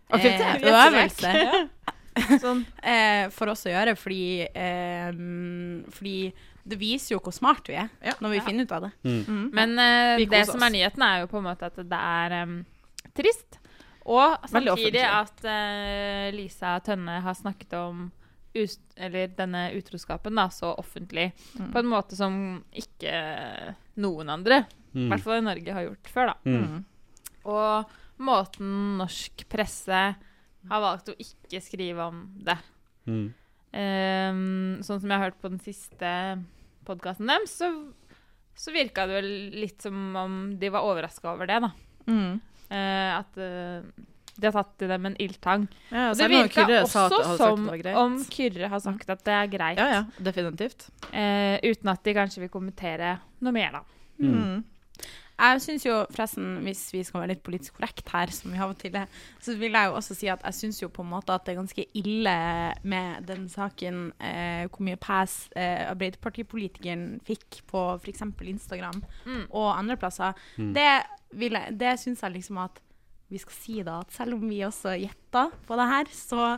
C: Aktivitet.
E: eh, øvelse
C: Sånn.
E: eh, for oss å gjøre, fordi eh, Fordi det viser jo hvor smart vi er
C: Ja.
E: når vi finner ut av det.
G: Men eh,
C: Vi
G: det
C: koser
G: som
C: oss.
G: er nyheten, er jo på en måte at det er em, trist. Og
C: Veldig offentlig.
G: samtidig at eh, Lisa Tønne har snakket om us eller denne utroskapen da, så offentlig.
C: Mm.
G: På en måte som ikke noen andre, i
D: Mm.
G: hvert fall i Norge, har gjort før. da.
D: Mm.
G: Og måten norsk presse har valgt å ikke skrive om det.
D: Mm.
G: Ehm, sånn som jeg har hørt på den siste podkasten deres, så, så virka det vel litt som om de var overraska over det, da.
C: Mm.
G: Eh, at eh, de har tatt i dem en ildtang.
C: Ja,
G: Og
C: så
G: det
C: er noe
G: virka
C: Kyrre sa at
G: også
C: han hadde sagt
G: som
C: det var greit.
G: om Kyrre har sagt at det er greit,
C: Ja, ja, definitivt.
G: eh, uten at de kanskje vil kommentere noe mer, da.
C: Mm.
E: Jeg syns jo forresten, hvis vi skal være litt politisk korrekt her, som vi av og til er, så vil jeg jo også si at jeg syns jo på en måte at det er ganske ille med den saken eh, hvor mye pass eh, Arbeiderpartipolitikeren fikk på f.eks. Instagram og andre plasser. Det, vil jeg, det syns jeg liksom at vi skal si da, at selv om vi også gjetta på det her, så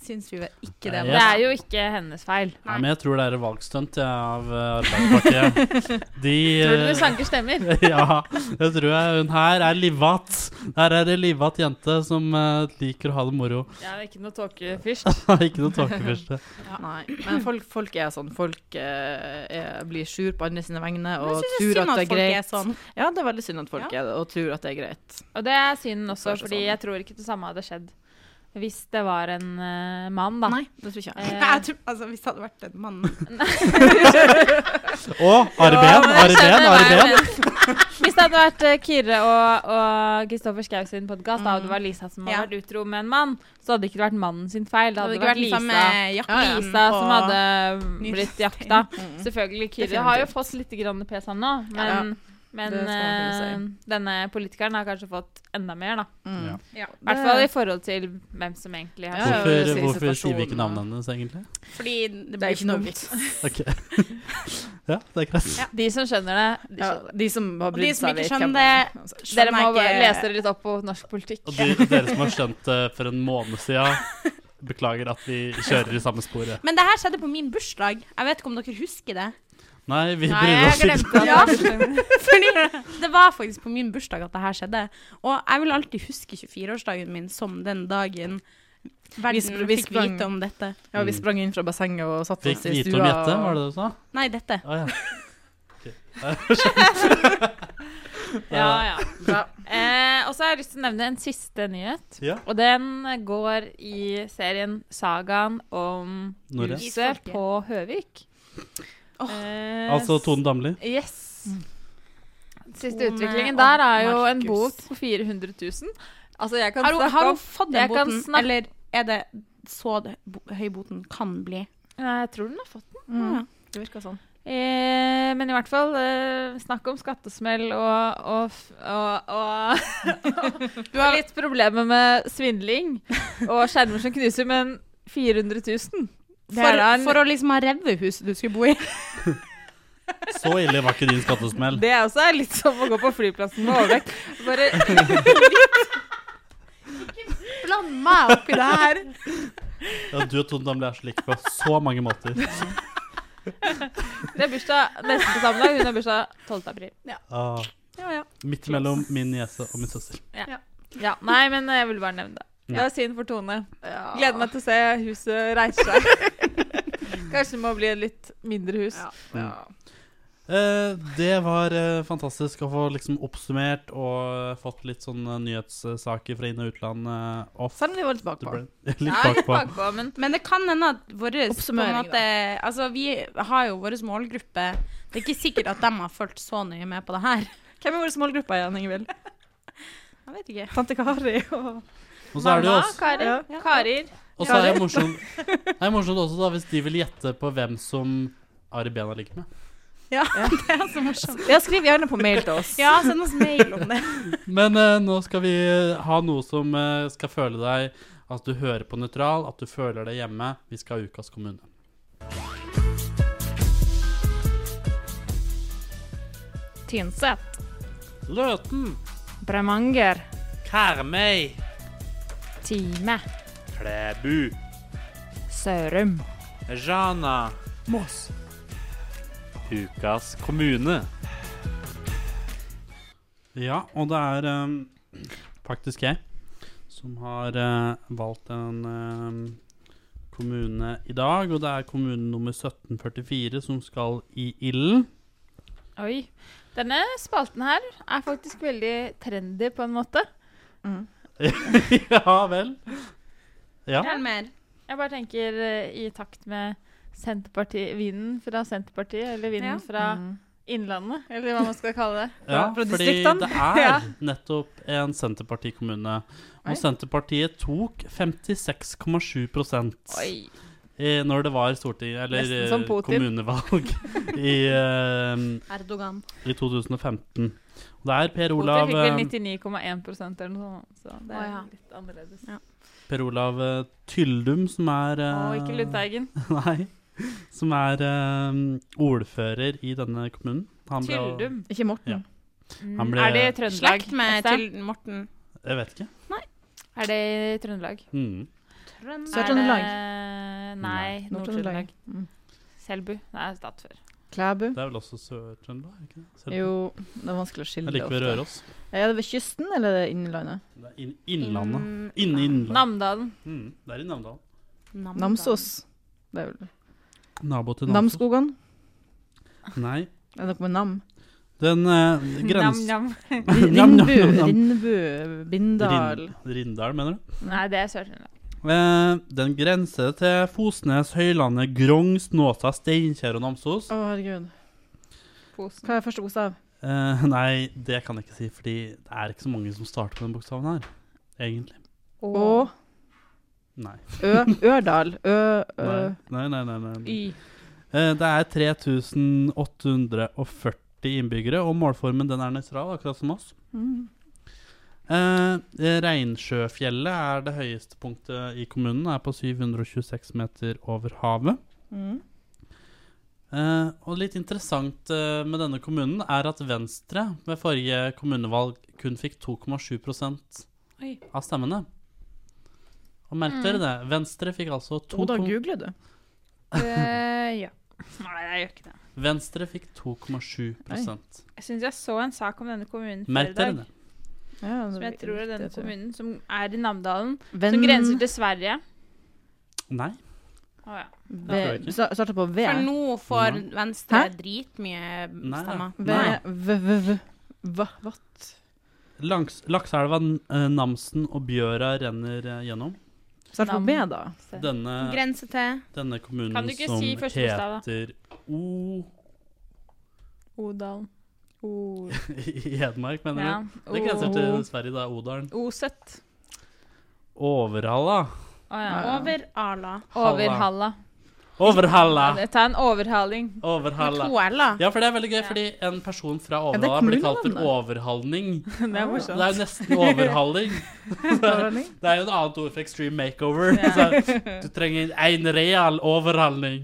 E: syns vi vel ikke det.
D: Nei,
E: var-
G: Det er jo ikke hennes feil.
D: Nei, men jeg tror det er et valgstunt ja, av eh, Arbeiderpartiet. De
G: Tror du
D: eh,
G: hun sanker stemmer?
D: [LAUGHS] ja, det tror jeg. Hun her er livvatt. Her er det livvatt jente som eh, liker å ha det moro. [LAUGHS]
G: Ja, ikke noe tåkefyrst.
D: Ikke noe tåkefyrste.
C: Nei, men folk, folk er sånn. Folk eh, er, blir sur på andre sine vegne
E: Men
C: og
E: jeg synes det er
C: tror
E: synd
C: at det er
E: at folk er
C: greit.
E: sånn.
C: Ja, det er veldig synd at folk er det, og tror at det er greit.
G: Og det er synd også,
C: Hvorfor er det
G: fordi
C: sånn?
G: jeg tror ikke det samme hadde skjedd hvis det var en eh, mann, da.
C: Nei, det tror ikke jeg.
G: Eh,
E: [LAUGHS] Jeg tror, altså, hvis det hadde vært den mannen
D: Og Ari
G: Ja,
D: Behn,
G: men jeg
D: Ari Behn,
G: skjønner hva
D: Ari
G: jeg
D: Behn.
G: mener. Hvis det hadde vært eh, Kyrre og, og Kristoffer Schau sin podkast, da og
C: Mm.
G: det var Lisa som hadde
E: Ja.
G: vært utro med en mann, så hadde det ikke vært mannen sin feil. Det hadde,
E: ikke
G: vært Lisa.
E: den samme jakken
G: Lisa
E: og-
G: som hadde
E: Nytt
G: blitt
E: sted.
G: jakta. Selvfølgelig. Kyrre har jo
C: Mm. Definitivt.
G: fått litt grann pes, han nå. Men, men
C: Det skal man
G: eh, denne politikeren har kanskje fått enda mer, da.
D: Ja.
G: I hvert fall i forhold til hvem som egentlig har
C: Ja, ja, det
D: Hvorfor,
C: sier
D: hvorfor sier vi
C: situasjonen,
D: ikke navnet hennes,
G: [LAUGHS]
D: egentlig?
E: Fordi det
C: Det
E: blir
C: er ikke noe
E: dumt.
C: vits.
D: Ok. [LAUGHS] Ja, det er greit.
G: De som skjønner det, de
C: Ja,
G: skjønner.
C: de som har
E: Og de
C: brydd
E: som
C: seg,
E: ikke
C: vet hvem
E: skjønner
C: det er. Altså,
E: det,
G: Dere må bare lese dere litt opp på norsk politikk.
D: Og de, dere som har skjønt det for en måned siden, beklager at vi kjører i samme sporet.
E: Men det her skjedde på min bursdag. Jeg vet ikke om dere husker det.
D: Nei, vi bryr oss ikke.
E: Ja, fordi det var faktisk på min bursdag at det her skjedde. Og jeg vil alltid huske 24-årsdagen min som den dagen
C: Vi
E: verden
C: sp- vi
E: fikk
C: sprang-
E: vite om dette.
C: Ja, vi sprang inn fra bassenget og satte
D: Fikk
C: oss i
D: vite
C: stua.
D: om Jette,
C: og-
D: var det det du sa?
E: Nei, dette.
D: Å ja.
G: Ja, ja. Eh, og [LAUGHS] så har jeg lyst til å nevne en siste nyhet.
D: Ja.
G: Og den går i serien Sagaen om
D: Nore.
G: huset
E: Isfolket.
G: på Høvik. Eh,
D: Altså Tone Damli.
G: Yes.
E: Mm.
G: Siste
E: Tone
G: utviklingen
E: og
G: der er jo en
E: Markus.
G: bot på 400 000. Altså, jeg kan
E: Har hun,
G: snakke
E: har
G: om
E: hun fått
G: Jeg
E: den
G: kan
E: boten,
G: snakke-
E: eller er det så det- bo- høy boten kan bli?
G: Nei, jeg tror den har fått den.
E: Ja.
C: Det virka sånn.
G: Eh, men i hvert fall, eh, snakk om skattesmell og, og, f- og, og [LAUGHS] Du har litt problemer med svindling og skjermer som knuser, men 400 000 Det er
E: For,
G: da en-
E: for å liksom ha revehuset du skulle bo i.
D: Så ille var ikke din skattesmell.
G: Det er også litt som å gå på flyplassen med overvekt. Bare
E: Bland meg oppi det her.
D: Ja, du og Tone Damli er så like på så mange måter.
G: Det er bursdag neste samlag. Hun har bursdag 12. april.
D: Ah,
E: Ja, ja.
D: midt mellom min niese og min søster.
G: Ja, Nei, men eh, jeg ville bare nevne det.
D: Ja.
G: Det var synd for Tone. Gleder meg til å se huset reise seg.
C: [LAUGHS]
G: Kanskje det må bli et litt mindre hus.
D: Eh, det var eh, fantastisk å få liksom oppsummert og fått litt sånn eh, nyhetssaker fra inn- og utland eh, off.
C: Selv om vi var litt
D: Det
C: Sånn bakpå.
D: ble [LAUGHS] litt
G: Ja, litt
D: bakpå.
G: bakpå, men
E: Men det kan hende at våre
C: Oppsummering,
E: Altså, vi har jo vår målgruppe. Det er ikke sikkert at de har fulgt så nøye med på det her.
C: [LAUGHS] Hvem er vår målgruppe igjen, Ingvild?
E: Jeg vet ikke.
C: Tante Kari og
D: Og så er det jo
G: mamma,
D: også
G: Kari, Karier.
D: Og så er det morsomt, det er morsomt også da, hvis de vil gjette på hvem som Ari Behn har ligget med.
E: Det er så morsomt.
C: Ja, skriv gjerne på mail til oss.
E: Ja, send oss mail om det.
D: Men eh, nå skal vi ha noe som eh, skal føle deg at du hører på nøytral, at du føler deg hjemme. Vi skal ha Ukas kommune.
C: Tynset.
D: Løten,
C: Bremanger.
D: Karmøy,
C: Time.
D: Klæbu,
C: Sørum.
D: Rana, Moss. Ukas kommune. Ja, og det er ehm, faktisk jeg som har eh, valgt en ehm, kommune i dag. Og det er kommune nummer 1744 som skal i ilden. [LAUGHS]
G: Oi. Denne spalten her er faktisk veldig trendy på en måte.
D: ja vel? Ja.
E: Fortell mer.
G: Jeg bare tenker eh, i takt med Senterparti- vinden fra Senterpartiet, eller
E: Ja.
G: vinden fra
C: Mm.
G: Innlandet, eller hva man skal kalle det.
D: Ja,
C: fra
D: fordi
C: distriktene.
D: det
G: Ja.
D: er nettopp en Senterpartikommune. Og Senterpartiet tok 56,7 i- når det var storting, eller
G: Nesten som
D: eh,
G: Putin.
D: kommunevalg [LAUGHS] i, eh,
E: Erdogan.
D: i 2015. Og det er Per Olav,
G: Olav fikk vel
D: eh,
G: 99,1 eller noe sånt, så det
E: Å,
G: er
E: ja.
G: litt annerledes.
E: Ja.
D: per Olav eh, Tyldum som er
G: Å,
D: eh,
G: ikke Lundteigen.
D: [LAUGHS] Nei. Som er eh, ordfører i denne kommunen. Han ble-
G: Tyldum.
C: Ikke Morten.
D: Ja.
G: Mm,
D: Han ble-
G: Er det i Trøndelag?
E: Slekt med
G: Esther?
E: til Morten.
D: Jeg vet ikke.
G: Er det i Trøndelag?
D: Mm.
C: Sør-Trøndelag.
G: Er det- Nei,
C: Nord-Trøndelag.
G: Nord-Trøndelag.
E: Mm.
G: Selbu. Nei, jeg har tatt før.
C: Klæbu.
D: Det er vel også Sør-Trøndelag? er det ikke det? Selv-
C: Jo, det er vanskelig å skille
D: Jeg liker ved
C: ofte.
D: Røros.
C: Er det ved kysten eller er det innlandet?
D: Det er inn, Innlandet.
G: Mm.
D: Inne i Innlandet.
G: Namdalen.
D: Mm, det er i Namdalen.
C: Namsos? Det er vel
D: Nabo til Namsos.
C: Namskogan?
D: Nei.
C: Er det noe med [LAUGHS] nam?
D: Den eh, grens...
G: Nam-nam.
D: [LAUGHS] Nam, nam,
C: Rindebu,
D: nam, nam.
C: Rindebu, Bindal
D: Rind- Rindal, mener du?
G: Nei, det er Sør-Trøndelag.
D: Eh, Den grenser til Fosnes, Høylandet, Grong, Snåsa, Steinkjer og Namsos.
C: Å, herregud. Hva er første bokstav?
D: Eh, nei, det kan jeg ikke si, fordi det er ikke så mange som starter på den bokstaven her. Egentlig.
C: Å,
D: Nei.
C: Ø, Ørdal. Ø, Ø,
D: Nei, nei, nei. nei, nei.
C: Y.
D: Eh, det er 3840 innbyggere, og målformen den er nøytral, akkurat som oss.
C: Mm.
D: Eh, eh, Reinsjøfjellet er det høyeste punktet i kommunen, er på 726 meter over havet.
C: Mm.
D: Eh, og litt interessant eh, med denne kommunen er at Venstre ved forrige kommunevalg kun fikk 2,7
G: Oi. Mm.
D: av stemmene. Og merk dere det. Venstre fikk altså
C: To, da
D: 2,7
C: googler du.
G: Eh, ja. Nei, jeg gjør ikke det.
D: Venstre fikk 2,7
G: Jeg syns jeg så en sak om denne kommunen før i
D: Merk dere
G: dag.
D: det.
C: Ja,
G: Som jeg tror er denne
C: det tror jeg.
G: kommunen, som er i Namdalen, som
C: Venn-
G: grenser til Sverige.
D: Nei.
G: Å ja.
D: tror jeg
C: Ve-
D: ikke.
C: sta- Starter på V.
E: For nå får Venstre
C: Hæ?
E: dritmye
D: Nei,
E: stemmer.
C: V, v, v, v. Hva? Vatt?
D: Langs, Lakseelva, N- eh, Namsen og Bjøra renner eh, gjennom.
C: Starter på B, da.
D: Denne,
E: Grense til
D: denne
G: Kan
D: kommunen
G: du ikke
D: som
G: si første bokstav,
D: heter O [LAUGHS]
G: Odalen. O...
D: i Hedmark, mener
G: Ja.
D: du? Det grenser til Sverige, da. Odalen.
G: Oset.
D: Overhalla.
G: Å ja.
E: over Arla.
G: Overhalla.
D: Overhalla!
G: Ja, Ta en overhaling.
D: Overhalla.
E: To L-er.
D: Ja, for det er veldig gøy, fordi en person fra
C: det er
D: Overhalla blir kalt for
C: kommunenavnet.
D: overhalning.
G: [LAUGHS] Det er
D: Det
G: morsomt.
D: er jo nesten
C: [LAUGHS]
D: overhalling. Det er jo et annet ord for extreme makeover. Så du trenger en real overhalning.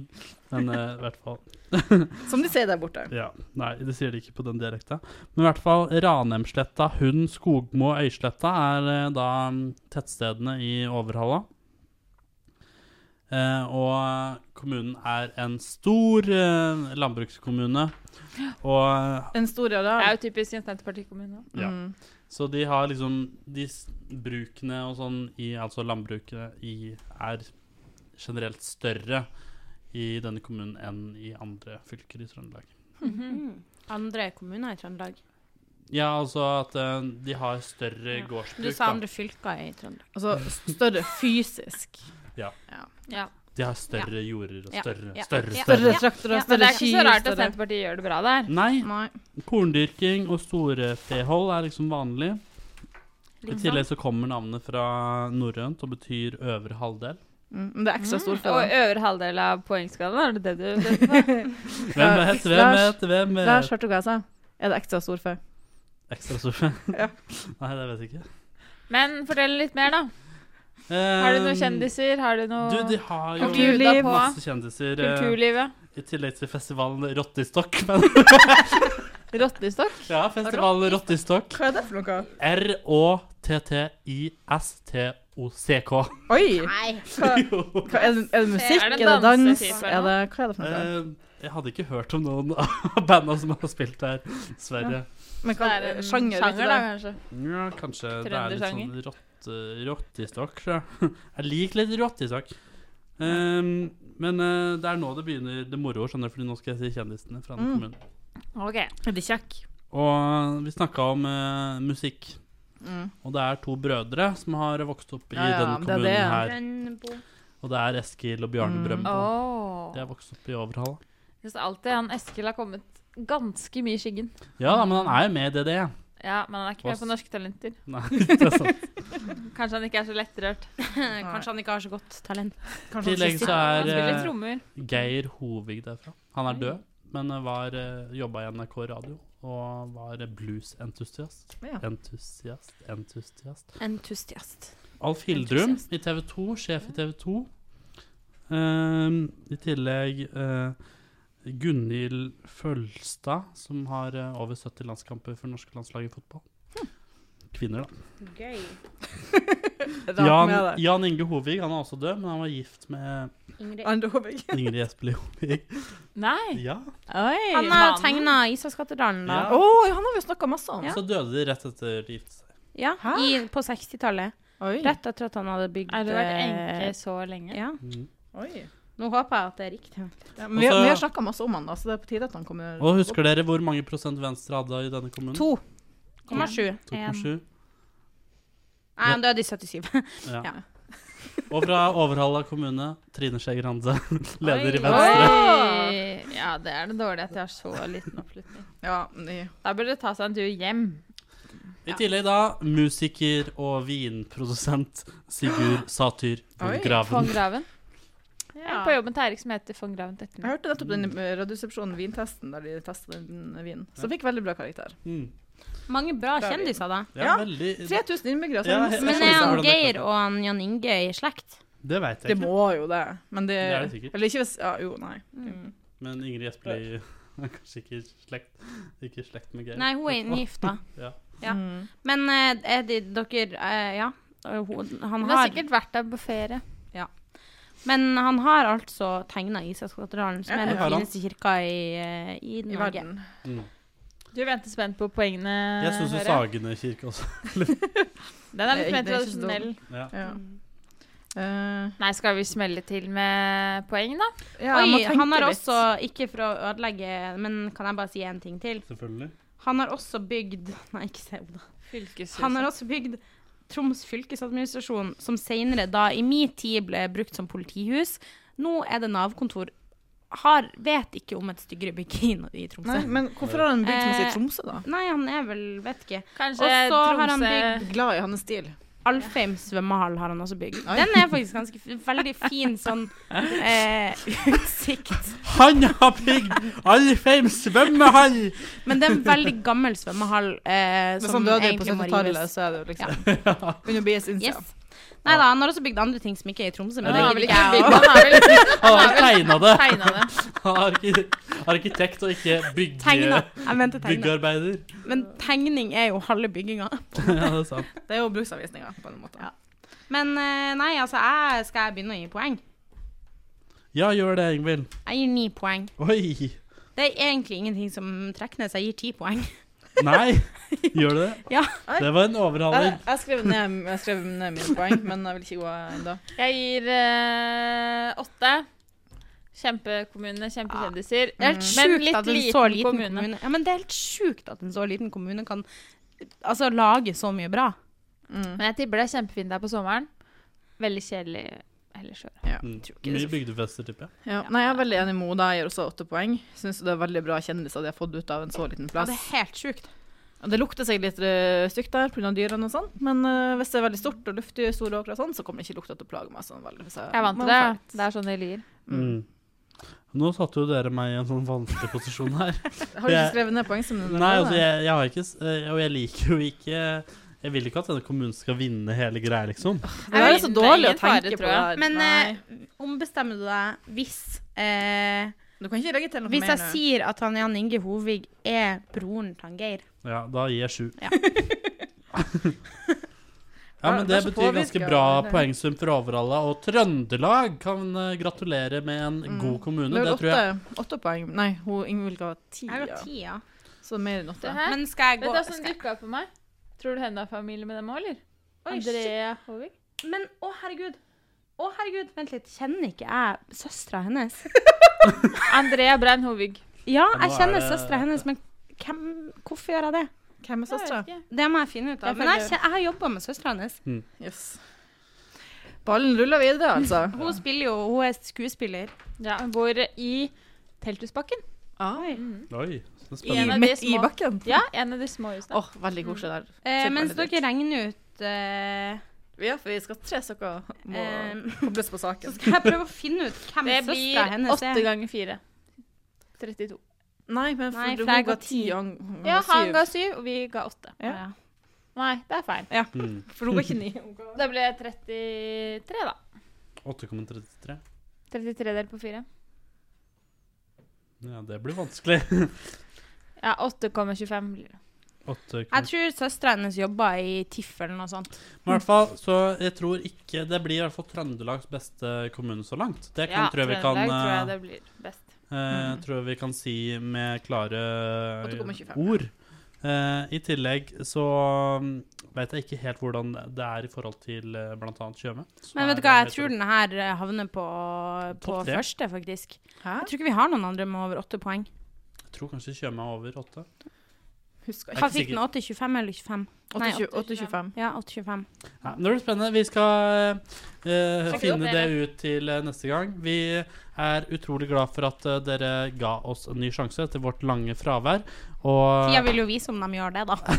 D: Men eh, i hvert fall
C: Som de sier der borte.
D: Ja, nei, det sier de ikke på den direkte. Men i hvert fall Ranheimsletta, Hund, Skogmo og Øysletta er eh, da mm, tettstedene i Overhalla. Eh, og kommunen er en stor eh, landbrukskommune. Og
C: En stor
G: Det er
C: areal.
G: jo typisk en Senterpartikommune.
D: ja.
C: Mm.
D: Så de har liksom De s- brukene og sånn i Altså landbruket i er generelt større i denne kommunen enn i andre fylker i Trøndelag.
E: Andre kommuner i Trøndelag.
D: Ja, altså at eh, de har større
E: Du
D: gårdsbruk.
E: sa
D: da.
E: andre fylker i Trøndelag.
C: Altså større fysisk.
D: De har større jorder og
E: Ja.
D: større,
E: Ja.
D: større,
E: Ja.
D: større.
E: Ja.
C: traktorer,
G: Men det
C: større
G: er
C: ski,
G: ikke så rart at
C: større
G: Senterpartiet gjør det bra der.
D: Nei,
C: Nei.
D: korndyrking og storfehold er liksom vanlig. I tillegg så kommer navnet fra norrønt og betyr øvre halvdel.
C: Mm, Men det er ekstra stort for
G: Og
C: deg.
G: øvre halvdel av poengskalaen, er det det du vet? på? [LAUGHS]
D: Hvem vet, hvem
C: Lars-
D: vet, hvem
C: Lars, hørte
D: vet?
C: du hva jeg sa? Er det ekstra stort for?
D: Ekstra sofa. [LAUGHS] Nei, det vet jeg ikke.
G: Men fortell litt mer, da. Har du noen
D: Um,
G: kjendiser? Har du
D: Du, de
G: noe
D: har jo
G: Kulturliv.
D: masse kjendiser. eh,
G: Kulturlivet?
D: I tillegg til festivalen Rottistokk. [LAUGHS] Men
G: Rottestokk?
D: ja, festivalen Rottistokk.
C: Hva er det for noe?
D: R-Å-T-T-I-S-T-O-C-K.
C: Oi!
D: [LAUGHS] Jo.
C: Hva, er, det, er det musikk?
G: Er
C: Er
G: det
C: det, dans?
G: dansetyper
C: Er det, hva er det for noe?
D: Eh, jeg hadde ikke hørt om noen av banda som har spilt der, dessverre.
C: Men
G: Det
C: hva
G: er en
C: sjanger? vet du
G: sjanger da,
C: det?
G: kanskje.
D: Ja, kanskje det er litt sånn
G: Trøndersanger.
D: rotte, rottistokk. Ja. Jeg liker litt rottistokk. Ehm, men eh, det er nå det begynner det moroa, skjønner du, fordi nå skal jeg si kjendisene fra
C: Mm.
D: den kommunen.
G: Ok.
C: Er de kjekk?
D: Og vi snakka om eh, musikk.
C: Mm.
D: Og det er to brødre som har vokst opp i
C: Ja, ja, Mm.
D: denne
C: det er
D: kommunen
C: det.
D: her. Og det er Eskil og Bjarne Brøndbo. De har vokst opp i Overhalla.
G: Jeg synes alltid han Eskil har kommet ganske mye i skyggen.
D: Ja da, men han er jo med i DDE.
G: Ja, men han er ikke med
D: Oss.
G: på Norske Talenter.
D: Nei, [LAUGHS] det er sant.
G: Kanskje han ikke er
E: [LAUGHS]
G: så lettrørt.
E: Kanskje han ikke har så godt talent.
D: I tillegg så
G: Han
D: er
G: spiller
D: eh,
G: trommer.
D: Geir Hovig derfra. Han er død, men var, eh, jobba i NRK Radio og var bluesentusiast.
C: Ja.
D: Entusiast, entusiast.
E: Entusiast.
D: Alf Hildrum i TV 2, sjef i TV 2. Ehm, I tillegg uh, Gunhild Følstad, som
G: Hm.
D: har eh, over 70 landskamper for norske landslag i fotball. Kvinner, da.
C: Rart
D: Jan,
C: med det.
D: Jan Inge Hovig han er også død, men han var gift med
C: Andre Håvig.
D: Ingrid Espelid Hovig.
G: Nei.
D: Ja.
C: Oi.
E: Han har tegna Isaksgatedalen, da.
D: Ja.
C: Å, han har vi jo snakka masse om.
D: Så døde de rett etter de giftet seg.
E: Ja, i, på 60-tallet.
C: Oi.
E: Rett etter at han hadde bygd
G: Har du vært
E: eh,
G: enke så lenge?
E: Ja.
D: Mm.
C: Oi.
E: Nå håper jeg at det er riktig.
C: Ja, men vi,
D: Altså-
C: vi har snakka masse om han, da, så det er på tide at han kommer
D: Og husker dere hvor mange prosent Venstre hadde i denne kommunen?
E: 2,7.
D: 2,7.
E: Nei, han døde i 77.
D: Ja.
E: Ja.
D: Og fra Overhalla kommune, Trine Skei Grande, [LAUGHS] leder i Venstre.
G: Oi. Ja, det er det dårlige at jeg har så liten oppslutning.
C: Ja, nei.
G: Da burde det ta seg en tur hjem.
D: I tillegg da musiker og vinprodusent [GASPS] Sigurd Satyr
C: Oi,
D: von Graven.
G: Von Graven. Jeg
C: Ja.
G: er på jobben til Eirik som heter von Graven til
C: Jeg
G: etternavn.
C: hørte nettopp den eh, Radioresepsjonen vintesten der de testa den eh, vinen, som fikk veldig bra karakter.
D: Mm.
E: [LAUGHS] Mange bra
C: Bra
E: kjendiser, da.
D: Ja,
C: Ja,
D: veldig
C: 3000 innbyggere, så
D: Ja,
C: det er
D: jeg-
E: Men
C: masse
E: er
D: skjønner
E: han
D: hvordan det
E: Geir
D: kan.
E: og han Jan Inge i slekt?
D: Det veit
C: Det
D: jeg ikke.
C: må jo det, men det,
D: Det er det sikkert.
C: Eller ikke hvis ja, Jo, nei.
D: Men Ingrid Espelid [LAUGHS] er kanskje ikke i slekt, ikke i slekt med Geir.
E: Nei, hun er inngifta.
D: Ja.
E: Ja. Men eh, er de, dere eh, Ja. Hun, han
G: Hun har
E: har,
G: sikkert vært der på ferie.
E: men han har altså tegna Isaksgatedalen, som
C: Ja,
E: er den
D: det har han.
E: fineste kirka i, eh, i
C: I
E: Norge.
C: verden.
G: Du venter spent på poengene.
D: Jeg syns jo
G: hører jeg.
D: Sagene kirke også
G: Den er litt mer
C: Det er ikke så
G: tradisjonell.
D: ja.
C: Ja.
E: Mm.
C: Eh,
G: Nei, skal vi smelle til med poeng, da?
C: ja, man
E: Oi,
C: tenker
E: han har
C: litt.
E: også, ikke for å ødelegge, men kan jeg bare si én ting til?
D: Selvfølgelig.
E: Han har også bygd [LAUGHS] Nei, ikke se Oda. Han har
G: Fylkeshuset.
E: også bygd Troms fylkesadministrasjon, som senere, da i min tid, ble brukt som politihus. Nå er det Nav-kontor. Har, vet ikke om et styggere bygg i i Tromsø.
C: Nei,
E: Nei,
C: men hvorfor har han bygd som sitt
E: Eh,
C: Tromsø, da?
E: han er vel Vet ikke.
G: Kanskje
E: Og så har han
G: Tromsø
E: bygd-
C: Glad i hans stil.
E: Alfheim svømmehall har han også bygd. Den er faktisk ganske f- veldig fin sånn eh, utsikt.
D: Han har bygd Alfheim svømmehall!
E: Men det er en veldig gammel svømmehall eh,
C: Hvis
E: som
C: han døde sånn på
E: egentlig må rives.
C: 70-tallet, så er det jo liksom Under bias innsida.
E: Yes. Nei da, han har også bygd andre ting som ikke er i Tromsø. Men
G: Han
E: det gidder
G: har vel
E: ikke
G: ikke
E: jeg
G: bygd
E: å-
G: Han har
C: [LAUGHS]
G: vel
D: Han har tegna det!
G: tegna det.
D: [LAUGHS] Han er arki- arkitekt og ikke bygge,
E: Tegna. Jeg mente tegna.
D: byggearbeider. [LAUGHS]
E: Men tegning er jo halve bygginga.
D: Ja, det er sant.
C: Det er jo bruksanvisninga, på en måte.
E: Ja. Men eh, nei, altså, jeg skal jeg begynne å gi poeng?
D: Ja, gjør det, Ingvild.
E: Jeg gir ni poeng.
D: Oi!
E: Det er egentlig ingenting som trekker ned, så jeg gir ti poeng.
D: Nei, gjør du det?
E: Ja.
D: Det var en
C: Jeg,
D: overhaling.
C: jeg, skrev ned, jeg skrev ned mine poeng, men jeg vil ikke gå ennå.
G: Jeg gir eh, åtte. Kjempekommune, kjempekjendiser.
E: Det er helt
G: Men
E: Mm. sjukt
G: litt
E: at en
G: liten
E: så liten
G: kommune.
E: kommune. Ja, men det er helt sjukt at en så liten kommune kan altså, lage så mye bra.
G: Men jeg tipper det er kjempefint der på sommeren. Veldig kjedelig ellers. i år.
D: Mm. Mye bygdefester, tipper jeg.
C: Ja. Nei, jeg er veldig enig med Oda. Jeg gir også åtte poeng. Syns det er veldig bra kjendiser de har fått ut av en så liten
E: Ja,
C: plass.
E: det er helt sjukt.
C: Og Det lukter seg litt eh, stygt der pga. dyrene og sånn, men eh, hvis det er veldig stort og luftig, store åkre og sånn, så kommer det ikke lukta til å plage meg sånn veldig. Så
G: Jeg er vant til det. Det er sånn det lyr.
D: Mm. Nå satte jo dere meg i en sånn vanskelig posisjon her.
C: Har du ikke skrevet ned poeng som
D: [LAUGHS] Nei, altså, jeg, jeg har ikke s- eh, Og jeg liker jo ikke Jeg vil ikke at denne kommunen skal vinne hele greia, liksom.
C: Det er så
G: Det er
C: dårlig å
G: ingen fare,
C: tenke på.
G: tror jeg.
C: det her.
E: Men
C: Nei.
E: eh, ombestemmer du deg hvis eh,
C: du kan ikke legge til noe
E: Hvis
C: mer
E: jeg
C: nå.
E: sier at han Jan Inge Hovig er broren til han Geir
D: Ja, da gir jeg sju.
E: Ja.
D: [LAUGHS] Ja, men
C: Det
D: det
C: er så
D: betyr ganske
C: påvirket,
D: bra
C: eller?
D: poengsum for Overhalla. Og Trøndelag kan eh, gratulere med en
G: Mm.
D: god kommune.
C: Det er
D: Det
C: vel
D: tror jeg.
C: åtte, åtte poeng. Nei, hun Ingvild ga ti.
E: Jeg
C: ja.
E: har ti, ja.
C: Så mer enn åtte.
G: Det her.
E: Men sånn skal jeg
G: Vet
E: gå
G: du hva som
E: skal...
G: dukka opp for meg? Tror du henne har familie med dem òg, eller?
E: Oi, shit.
G: Andrea Håvik?
E: Men å, herregud. Å, herregud, vent litt. Kjenner ikke jeg søstera hennes?
G: Andrea Brein Håvig.
E: [LAUGHS] Ja,
D: nå
E: jeg kjenner
D: er det-
E: søstera hennes, men hvem, hvorfor gjør jeg det?
C: Hvem er søstera?
E: Det må jeg finne ut av.
C: Jeg
E: Men jeg,
C: følger-
E: kjen- jeg har jobba med søstera hennes.
C: Yes. Ballen ruller videre, altså.
E: Hun spiller jo, hun er skuespiller.
G: Ja, hun bor i Telthusbakken.
D: Oi, så
G: I en
D: spennende.
G: av de
C: Midt i
G: små-
C: bakken.
G: Ja, en av de små husene.
C: Åh, veldig koselig der.
E: Eh,
C: Ser
E: mens
C: veldig
E: dere regner ut eh,
C: Mm. Ja, for vi skal tre stykker må [LAUGHS]
E: Ehm.
C: kobles på saken.
E: Skal jeg prøve å finne ut hvem
G: Det
E: søstera
G: blir
E: hennes
G: åtte
E: er?
G: ganger fire. 32.
C: Nei, men for
E: Nei,
C: du
E: for jeg
C: ga
E: ga
C: ti,
E: ti.
C: han ga
G: Ja, han
C: syv.
G: ga syv, og vi ga åtte.
E: Ja.
G: Nei, det er feil.
D: Mm.
C: For hun ga ikke ni. hun ga-
G: Det ble 33, da.
D: 8,33.
G: 33 delt på 4.
D: Ja, det blir vanskelig. [LAUGHS]
G: Ja, 8,25 blir det.
D: Åtte
E: Jeg
D: kroner.
E: tror søstera hennes jobba i TIFF eller noe sånt.
D: Men i hvert fall, så jeg tror ikke det blir i hvert fall Trøndelags beste kommune så langt. Det kan, tror jeg vi kan
G: Trøndelag tror jeg
D: eh,
G: det blir best.
D: Eh,
E: Mm.
D: tror jeg vi kan si med klare
C: 8,25.
D: ord. Eh, I tillegg så mm, vet jeg ikke helt hvordan det er i forhold til eh, blant annet Tjøme. Så
E: Men vet du hva,
D: er det
E: jeg
D: mer-
E: tror den her eh, havner på, på
D: Topp tre?
E: første, faktisk. Jeg tror ikke vi har noen andre med over åtte poeng.
D: jeg tror kanskje Tjøme er over åtte.
C: Husker
D: Jeg er
E: Hva
D: ikke
E: fikk den?
D: sikker.
E: 8,25 eller 25? Nei,
C: 8,25.
E: Ja, 8,25.
D: Nei, men det blir spennende. Vi skal eh,
G: Sjekke
D: finne
G: opp
D: det
G: dere.
D: ut til eh, neste gang. Vi er utrolig glad for at eh, dere ga oss en ny sjanse etter vårt lange fravær.
E: Tia
D: Og
E: vil jo vise om de gjør det, da.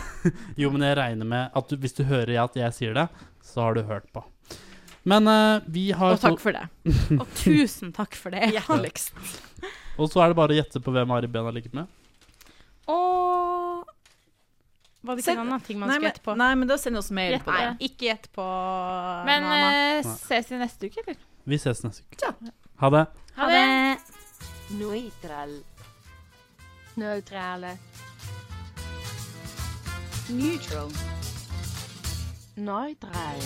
D: jo, men jeg regner med at du, hvis du hører jeg at jeg sier det, så har du hørt på. Men eh, vi har
C: Og takk for det.
E: Og tusen takk for det.
C: Hjerteligst.
D: Og så er det bare å gjette på hvem Ari Behn har ligget med.
E: Og Var det ikke
C: Send-
E: en annen ting man
C: Nei,
E: skulle
C: men,
E: gjette på?
C: nei, men da sender oss mail
G: Gjett
C: på det.
E: Nei, ikke gjett på
G: Men
E: noe annet.
G: eh, ses vi neste uke, eller?
D: Vi ses neste uke. Ha det.
E: Ha det!
K: Neutral.
L: Neutrale. Neutral. Neutral.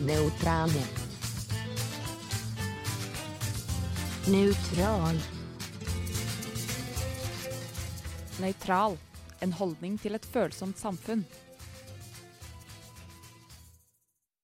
K: Neutrale. Neutral.
L: Nøytral. En holdning til et følsomt samfunn.